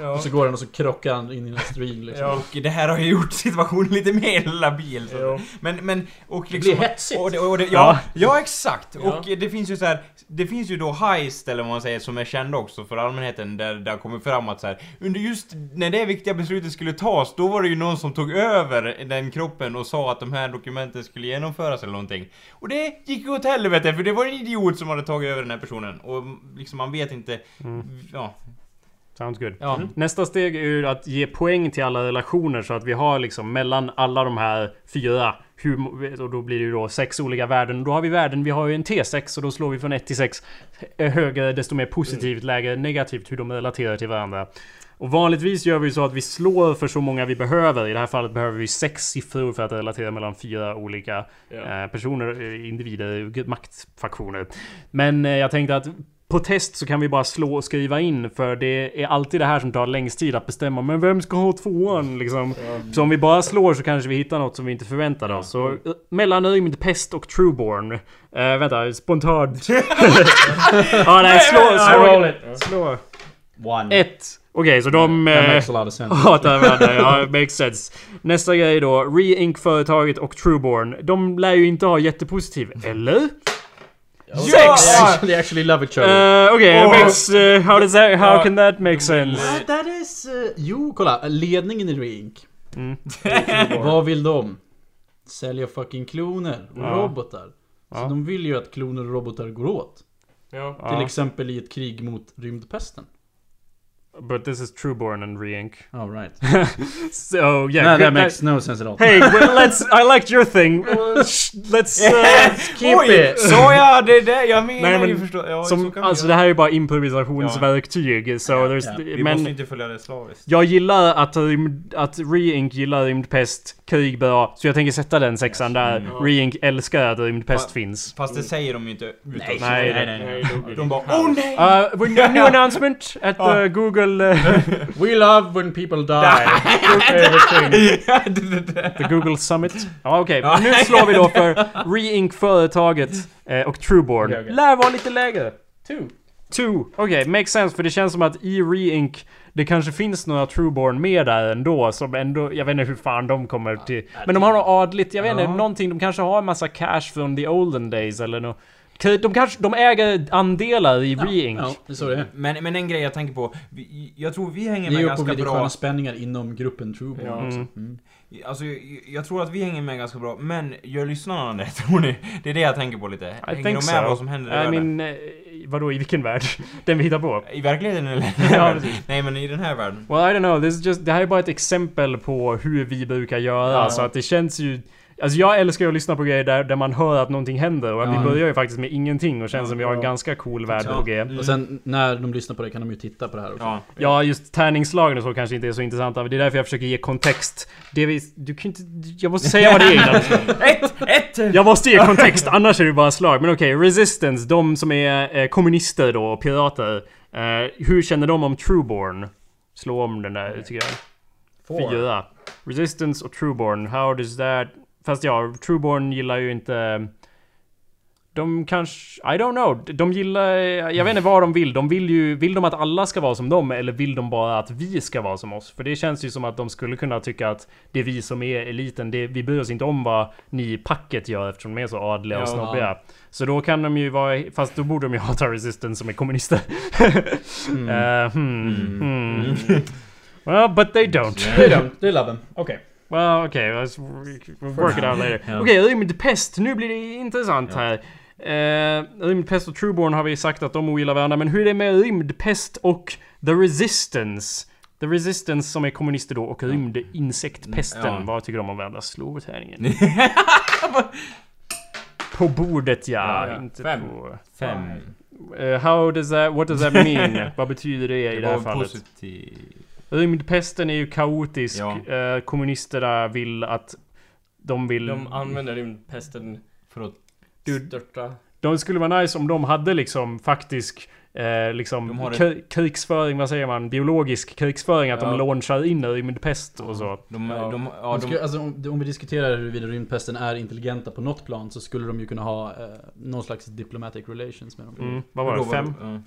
Ja.
Och så går han och så krockar han in i en asteroid liksom.
Ja.
Och det här har ju gjort situationen lite mer labil. Så.
Ja.
Men, men, och
Det
liksom...
blir hetsigt!
Och det, och det, ja,
Ja.
ja. exakt! Och det finns ju så här, det finns ju då heist eller vad man säger som är kända också för allmänheten där det har kommit fram att så här, under just när det viktiga beslutet skulle tas då var det ju någon som tog över den kroppen och sa att de här dokumenten skulle genomföras eller någonting. Och det gick ju åt helvete för det var en idiot som hade tagit över den här personen och liksom man vet inte,
Mm.
ja.
Sounds good.
ja.
Nästa steg är ju att ge poäng till alla relationer så att vi har liksom mellan alla de här fyra hur, mo- och då blir det ju då sex olika värden. Då har vi värden, vi har ju en T6 och då slår vi från 1 till 6. Högre desto mer positivt, lägre negativt hur de relaterar till varandra. Och vanligtvis gör vi ju så att vi slår för så många vi behöver. I det här fallet behöver vi sex siffror för att relatera mellan fyra olika
Ja.
eh, personer, eh, individer, g- maktfaktioner. Men eh, jag tänkte att på test så kan vi bara slå och skriva in för det är alltid det här som tar längst tid att bestämma. Men vem ska ha tvåan liksom? Så om vi bara slår så kanske vi hittar något som vi inte förväntade oss. Så eh, mellan rymd, pest och trueborn. Eh, vänta, spontant. ja, nej, slå, slå, slå.
One.
Ett. Okej, så de...
That
eh,
makes a lot of sense.
hatar varandra, ja makes sense. Nästa grej då, Re-Ink-företaget och Trueborn. De lär ju inte ha jättepositiv, eller?
They
Sex!
actually, they actually love each other.
Eh, Okej,
Åh.
makes... eh, how, does that, how can that make sense?
Ah, that is... eh, jo, kolla. Ledningen i Reink. Vad vill de? Sälja fucking kloner och
Ja.
robotar. Så
Ja.
de vill ju att kloner och robotar går åt.
Ja.
Ja,
Till exempel i ett krig mot rymdpesten.
But this is Trueborn and Re-Ink.
All right.
So yeah,
no,
good-
that makes no sense at all.
Hey, well, let's... I liked your thing.
Oh,
let's... eh,
Keep
Oj!
it!
Såja, det är det jag menar
Nej, men
ju förstå. Ja, så
som,
kan vi
alltså det
göra.
här är ju bara improvisationsverktyg. So there's,
Vi
men,
måste inte följa det slaviskt.
Jag gillar att, rymd- att Reink gillar rymdpest, krig bra, så jag tänker sätta den sexan där. Reink älskar att rymdpest
Ja.
finns.
Fast det säger de ju inte utåt.
Nej,
Nej,
nej,
Nej,
nej.
logiskt.
De bara OH NEJ!
Uh, with new announcement at uh, Google... Uh,
We love when people die.
the Google Summit. Ja okej, nu slår vi då för Reink företaget eh, och Trueborn.
Okej, okej.
Lär vara lite lägre.
Two.
Two. Okej, makes sense för det känns som att i Reink Det kanske finns några Trueborn med där ändå som ändå, jag vet inte hur fan de kommer till. Men de har något adligt, jag vet inte, någonting, de kanske har en massa cash från the olden days eller något. De kanske, de äger andelar i Re-Ink. Äh,
Ja, det är så det är.
Men, men en grej jag tänker på. Vi, jag tror vi hänger
Det
med
är ju på
ganska
lite sköna
bra.
spänningar inom gruppen Trueborn
Ja.
också.
Mm.
Mm.
Alltså, jag, jag tror att vi hänger med ganska bra. Men gör lyssnarna det tror ni? Det är det jag tänker på lite. hänger de
think
med
so.
vad som händer i
I
världen?
mean, eh, vadå i vilken värld? Den vi hittar på?
I verkligheten eller?
Ja,
Nej men i den här världen.
Well, I don't know. This is just, det här är bara ett exempel på hur vi brukar göra.
Ja.
Så att det känns ju... Alltså jag älskar ju att lyssna på grejer där, där man hör att någonting händer. Och
Ja.
vi börjar ju faktiskt med ingenting och känns
Ja,
som vi har en
ja.
ganska cool värld
Ja.
på G.
Och sen när de lyssnar på det kan de ju titta på det här också.
Ja.
Mm. Ja, just tärningslagen och så kanske inte är så intressanta. men Det är därför jag försöker ge kontext. Det vi, du kan inte... Jag måste säga vad det är innan.
Ett! Ett!
Jag måste ge kontext, annars är det bara slag. Men okej, Resistance, de som är eh, kommunister då och pirater. Eh, hur känner de om Trueborn? Slå om den där tycker jag. Fyra. Resistance och Trueborn, how does that... Fast ja, Trueborn gillar ju inte... De kanske... I don't know. De gillar... Jag vet inte vad de vill. De vill ju... Vill de att alla ska vara som dem? Eller vill de bara att vi ska vara som oss? För det känns ju som att de skulle kunna tycka att det är vi som är eliten. Det, vi bryr oss inte om vad ni i packet gör eftersom de är så adliga och
Ja.
snobbiga. Så då kan de ju vara... Fast då borde de ju hata Resistance som är kommunister. Eh, hmm,
Mm.
hmm. Well, but they don't.
Det är de, det är labben. Okej.
Well, okay, let's we'll work it out later. Okej, rymdpest. Nu blir det intressant här. Eh, rymdpest och Trueborn har vi sagt att de ogillar varandra, men hur är det med rymdpest och The Resistance? The Resistance som är kommunister då och rymdinsektpesten.
Ja.
Vad tycker de om varandra? Slå tärningen. på bordet ja,
Ja, ja.
inte
Fem.
på...
Fem.
Eh, how does that, what does that mean? Vad betyder det i det här
Det var
fallet?
positivt.
Rymdpesten är ju kaotisk.
Ja.
Eh, kommunisterna vill att de vill...
De
De,
använder rymdpesten för att
Du-
störta.
skulle vara nice om de hade liksom faktisk eh, liksom
De har ett-
kri- krigsföring, vad säger man? Biologisk krigsföring. Att
Ja.
de launchar in rymdpest och så.
De,
Ja.
de, ja,
De skulle,
de,
alltså, om, om vi diskuterar huruvida rymdpesten är intelligenta på något plan så skulle de ju kunna ha eh, någon slags diplomatic relations med dem.
Mm, vad var
hur
det?
då-
Fem?
ja.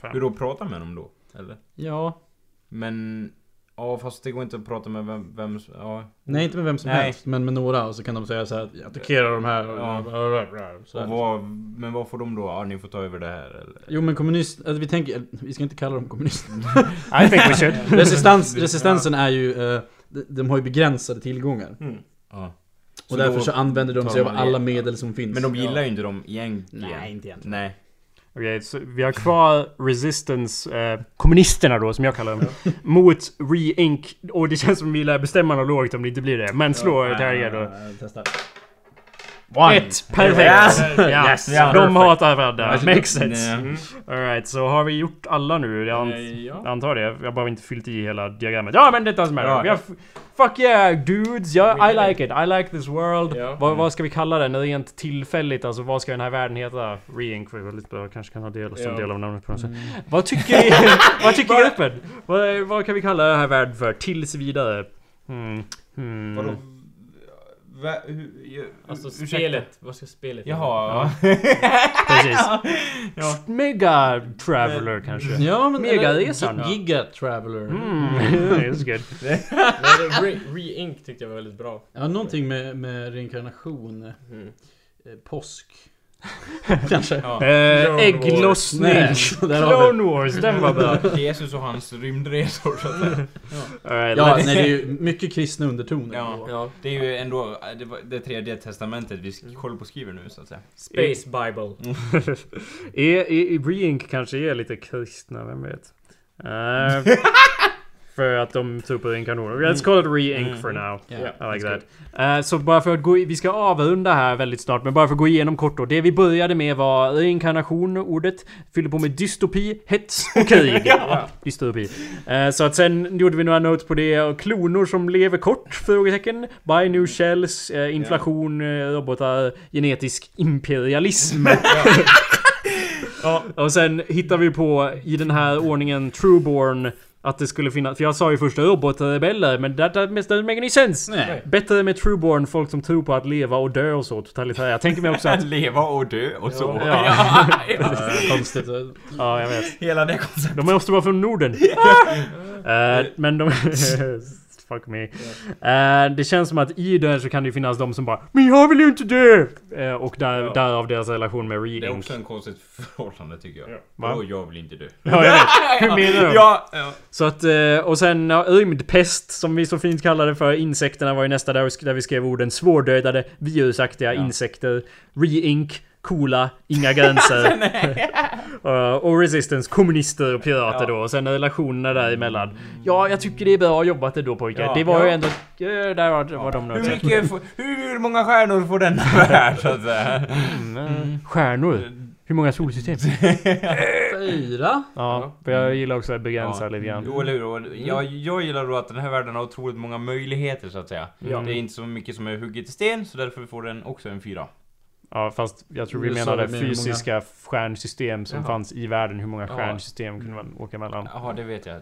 Fem.
Hur då pratar med dem då? Eller?
Ja.
Men... Ja fast det går inte att prata med vem, vem som- ja.
Nej, inte med vem som
Nej.
helst, men med några. Och så kan de säga så här att jag attackerar de här. Och,
Ja.
så
Och
här.
vad, men vad får de då? Ja ni får ta över det här eller?
Jo men kommunist, alltså, vi tänker, vi ska inte kalla dem kommunister.
I think we should.
Resistans, resistensen är ju, eh, de, de har ju begränsade tillgångar.
Ja.
och därför
då
så använder de
tar
sig av
man
alla
det.
medel som finns.
Men de gillar ju inte dem egentligen.
Nej, inte egentligen.
Nej.
Okej, så vi har kvar Resistance, eh, kommunisterna då som jag kallar dem. mot Re-Ink. Och det känns som vi lär bestämma något lågt om det inte blir det. Men slå ja, tärningar då. Ett! Perfekt! Ja.
Yes.
De hatar varandra.
Alltså,
Makes sense.
nej.
Mm. Alright, så har vi gjort alla nu? Jag ant-
Eh, ja.
jag antar det. Jag har bara inte fyllt i hela diagrammet. Ja men det doesn't matter.
Bra.
Vi har f- fuck yeah dudes! Ja,
We
I
did
like it. I like this world.
Ja.
Vad, vad ska vi kalla den? Rent tillfälligt alltså. Vad ska den här världen heta? Re-ink var ju väldigt bra. Kanske kan ha del, som
Ja. Mm.
del av namnet på något sätt. Vad tycker ni? vad tycker gruppen? Vad, vad kan vi kalla den här världen för? Tills vidare. Mm. Mm.
Vadå? Va, hur, jag,
Alltså
ursäkta.
spelet, vad ska spelet
Jaha.
Precis.
Ja.
Mega Traveler kanske?
Ja men
Megaresan,
eller,
ja.
Giga Traveler.
Mm, it's good.
Nej, det- Re- Re-Ink tyckte jag var väldigt bra.
Ja någonting med, med reinkarnation.
Mm.
Eh, Påsk. Kanske.
ja.
Eh,
Clone
ägglossning.
Nej, så där har vi.
Clone Wars, den var bra.
Jesus och hans rymdresor. så att säga.
Alright,
Ja,
let's-
nej, det är ju mycket kristna undertoner.
Ja.
Ja.
Det är ju ändå det, var det tredje testamentet vi sk- håller på och skriver nu så att säga.
Space Bible.
är, är, Re-Ink kanske är lite kristna, vem vet? Eh, för att de tror på reinkarnationer. Let's call it Re-Ink for now.
Ja.
I like that. Eh, så bara för att gå i, vi ska avrunda här väldigt snart, men bara för att gå igenom kort då. Det vi började med var reinkarnation, ordet. Fyllde på med dystopi, hets och krig. Dystopi. Eh, så att sen gjorde vi några notes på det. Och klonor som lever kort? Frågetecken. Buy new shells, eh, inflation, eh, robotar, genetisk imperialism. Och sen hittar vi på i den här ordningen Trueborn Att det skulle finnas, för jag sa ju först robotrebeller, men that, that doesn't make any sense!
Nej.
Bättre med trueborn, folk som tror på att leva och dö och så, totalitära. Jag tänker mig också att...
Leva och dö och så.
Ja,
Konstigt.
ja, jag vet.
Hela det konceptet.
De måste vara från Norden. Eh, men de... Fuck me. Eh, det känns som att i den så kan det ju finnas de som bara Men jag vill ju inte dö! Eh, och där, därav deras relation med
Det är
Re-Ink.
också en konstigt förhållande tycker jag.
Va?
Ja. Och jag vill inte dö.
Ja, jag vet. Hur menar du?
Ja, ja.
Så att, eh, och sen ja, rymdpest som vi så fint kallade det för. Insekterna var ju nästa där, vi sk- där vi skrev orden svårdödade, virusaktiga insekter. Re-Ink, coola, inga gränser. Eh, och Resistance, kommunister och pirater då. Och sen relationerna däremellan. Ja, jag tycker det är bra jobbat ändå pojkar.
Mm. Ja,
det var
ja.
ju ändå... eh, där var, var de
Hur,
något.
mycket, får- hur många stjärnor får denna värld så att säga?
Mm.
Mm.
Stjärnor. Hur många solsystem?
Fyra?
ja, för jag gillar också att begränsa
Mm. Ja.
lite grann.
Jo, eller hur? Och Jag, jag gillar då att den här världen har otroligt många möjligheter så att säga.
Ja.
Det är inte så mycket som är hugget i sten, så därför får den också en fyra.
Ja fast jag tror vi
Det sa
menade
vi med hur många-
fysiska stjärnsystem som
Jaha.
fanns i världen. Hur många
Ja.
stjärnsystem kunde man åka mellan?
Jaha, det vet jag.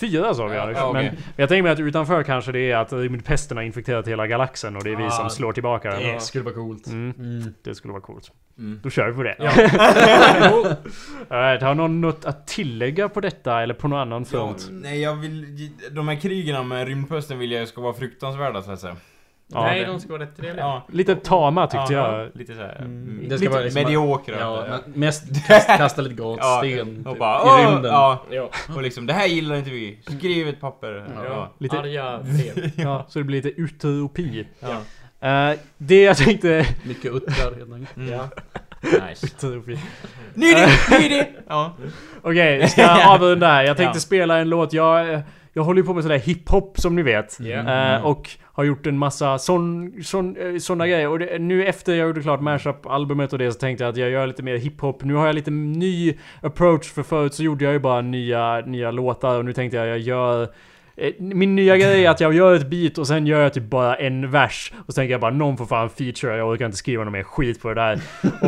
Fyra sa vi
Ja,
Alex.
ja, okej.
men, men jag tänker mig att utanför kanske det är att rymdpesten har infekterat hela galaxen och det är vi
Ja,
som slår tillbaka den.
Det skulle vara coolt.
Mm,
Mm.
det skulle vara coolt.
Mm.
Då kör vi på det.
Ja.
Alright, har någon något att tillägga på detta eller på någon annan
Ja,
front?
nej, jag vill... De här krigen med rymdpösten vill jag ska vara fruktansvärda så att säga.
Ja,
Nej,
det-
de ska vara rätt trevliga.
Ja.
Lite tama tyckte
Ja,
jag.
Lite såhär...
Mm.
Mm.
Det ska vara liksom-
Mediokra.
Ja,
Ja,
men mest kast, kasta lite gatsten
och
typ,
bara
i
"Åh!"
rymden.
Ja,
Ja.
och liksom det här gillar inte vi. Skriv ett papper.
Ja.
Mm. Ja.
Lite-
Arga brev.
Ja, så det blir lite utopi.
Ja.
Eh, det jag tänkte...
Mycket uttrar helt enkelt.
Mm.
Ja.
Nice.
utopi.
Ny idé! Ny idé! Ja.
Okej, jag ska jag avrunda här? Jag tänkte
Ja.
spela en låt. Jag, jag håller ju på med sådär hiphop som ni vet.
Ja.
Eh, och har gjort en massa sån, sån, eh, såna grejer. Och det, nu efter jag gjorde klart Mashup-albumet och det så tänkte jag att jag gör lite mer hiphop. Nu har jag lite ny approach. För förut så gjorde jag ju bara nya, nya låtar och nu tänkte jag jag gör eh, min nya grej är att jag gör ett beat och sen gör jag typ bara en vers. Och sen tänker jag bara någon får fan feature, jag orkar inte skriva någon mer skit på det där.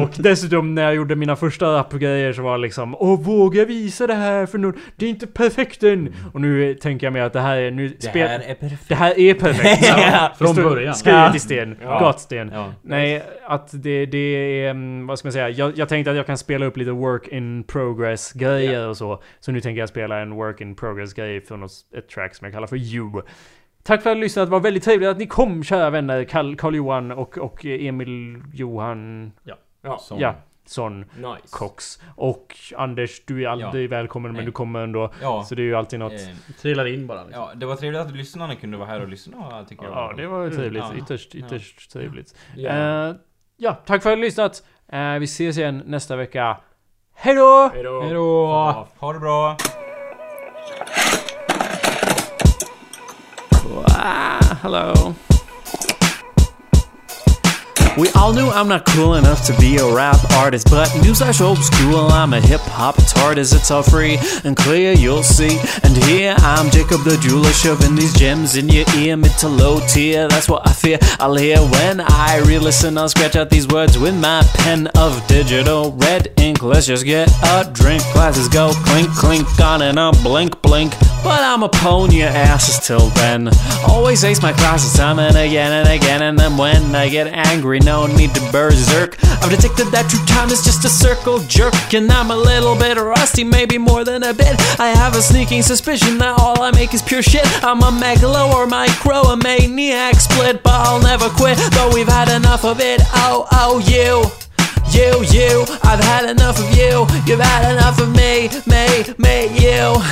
Och dessutom när jag gjorde mina första rapgrejer så var det liksom Åh vågar jag visa det här för någon? Det är inte perfekt än! Och nu eh, tänker jag mig att det här är... Nu det,
är perfekt.
det här är perfekt!
Från
Det står
början.
Skrivet i sten.
Ja.
Gatsten.
Ja.
Nej, att det, det är... mm, Vad ska man säga? Jag, jag tänkte att jag kan spela upp lite work in progress grejer och så. Så nu tänker jag spela en work in progress grej från oss- ett track som jag kallar för You. Tack för att ni lyssnat. Det var väldigt trevligt att ni kom kära vänner. Karl- Karl-Johan och, och Emil Johan...
Som-
Ja. Son
Nice.
Cox. Och Anders, du är aldrig välkommen men
Nej.
du kommer ändå.
Ja.
Så det är ju alltid något.
Eh,
Trillar in bara liksom.
ja, det var trevligt att lyssnarna kunde vara här och lyssna tycker jag.
Ja, det var ju trevligt.
Mm. Ja.
Ytterst,
Ja.
ytterst trevligt.
Ja.
Eh, ja, tack för att ni har lyssnat. Eh, vi ses igen nästa vecka. Hej då!
Hejdå.
Hejdå!
Ja, Ha det bra!
Ah, hello. We all knew I'm not cool enough to be a rap artist, but newsflash old school, I'm a hip hop TARDIS. It's all free and clear, you'll see. And here I'm Jacob the jeweler, shoving these gems in your ear, mid to low tier. That's what I fear I'll hear when I re-listen. I'll scratch out these words with my pen of digital red ink. Let's just get a drink. Glasses go clink clink on and a blink blink. But I'm a pawn your asses till then. Always ace my classes time and again and again. And then when I get angry, no need to berserk. I've detected that true time is just a circle jerk. And I'm a little bit rusty, maybe more than a bit. I have a sneaking suspicion that all I make is pure shit. I'm a megalo or micro, a maniac split. But I'll never quit, though we've had enough of it. Oh, oh, you. You, you, I've had enough of you. You've had enough of me, me, me, you.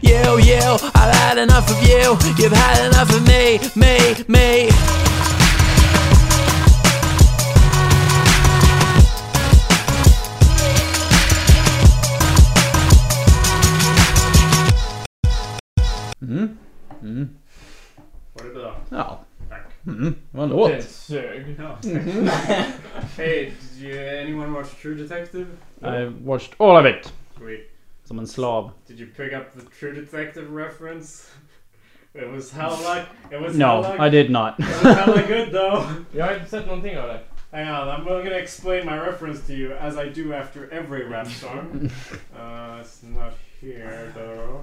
You, you, I've had enough of you. You've had enough of me, me, me.
Ja. Mm, det var en låt.
sög.
Mm-hmm.
hey, did you, anyone watch True Detective?
I watched all of it.
Great.
Som en slav.
Did you pick up the True Detective reference? It was hell like... It was
No,
hella-
I did not.
It was hella good though.
Jag har inte sett någonting av det.
Hang on, I'm gonna explain my reference to you as I do after every rap song. uh, it's not here though.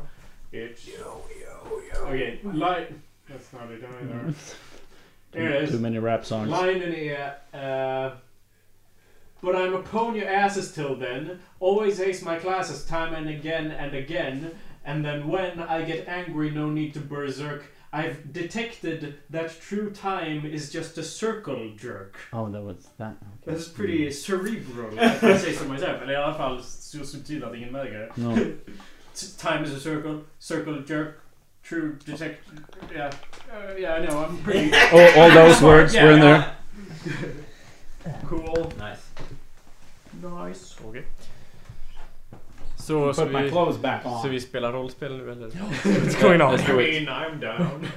It's Okay, line. That's not it either. Here it
Too
is.
many rap songs.
Line in here. Uh, but I'm upon your asses till then. Always ace my classes time and again and again. And then when I get angry, no need to berserk. I've detected that true time is just a circle jerk.
Oh, that was that. Okay.
That's pretty cerebral, if I say so myself. Eller i alla fall så subtil att ingen märker det.
No.
S- Time is a circle, circle jerk, true detect... Yeah, uh, yeah, I know, I'm pretty...
Oh, all those words
Yeah,
were in
yeah.
there.
Cool.
Nice.
Nice.
Så ska
Put my
vi,
clothes back
så
on.
vi spelar rollspel nu eller?
What's going on?
I mean, I'm down.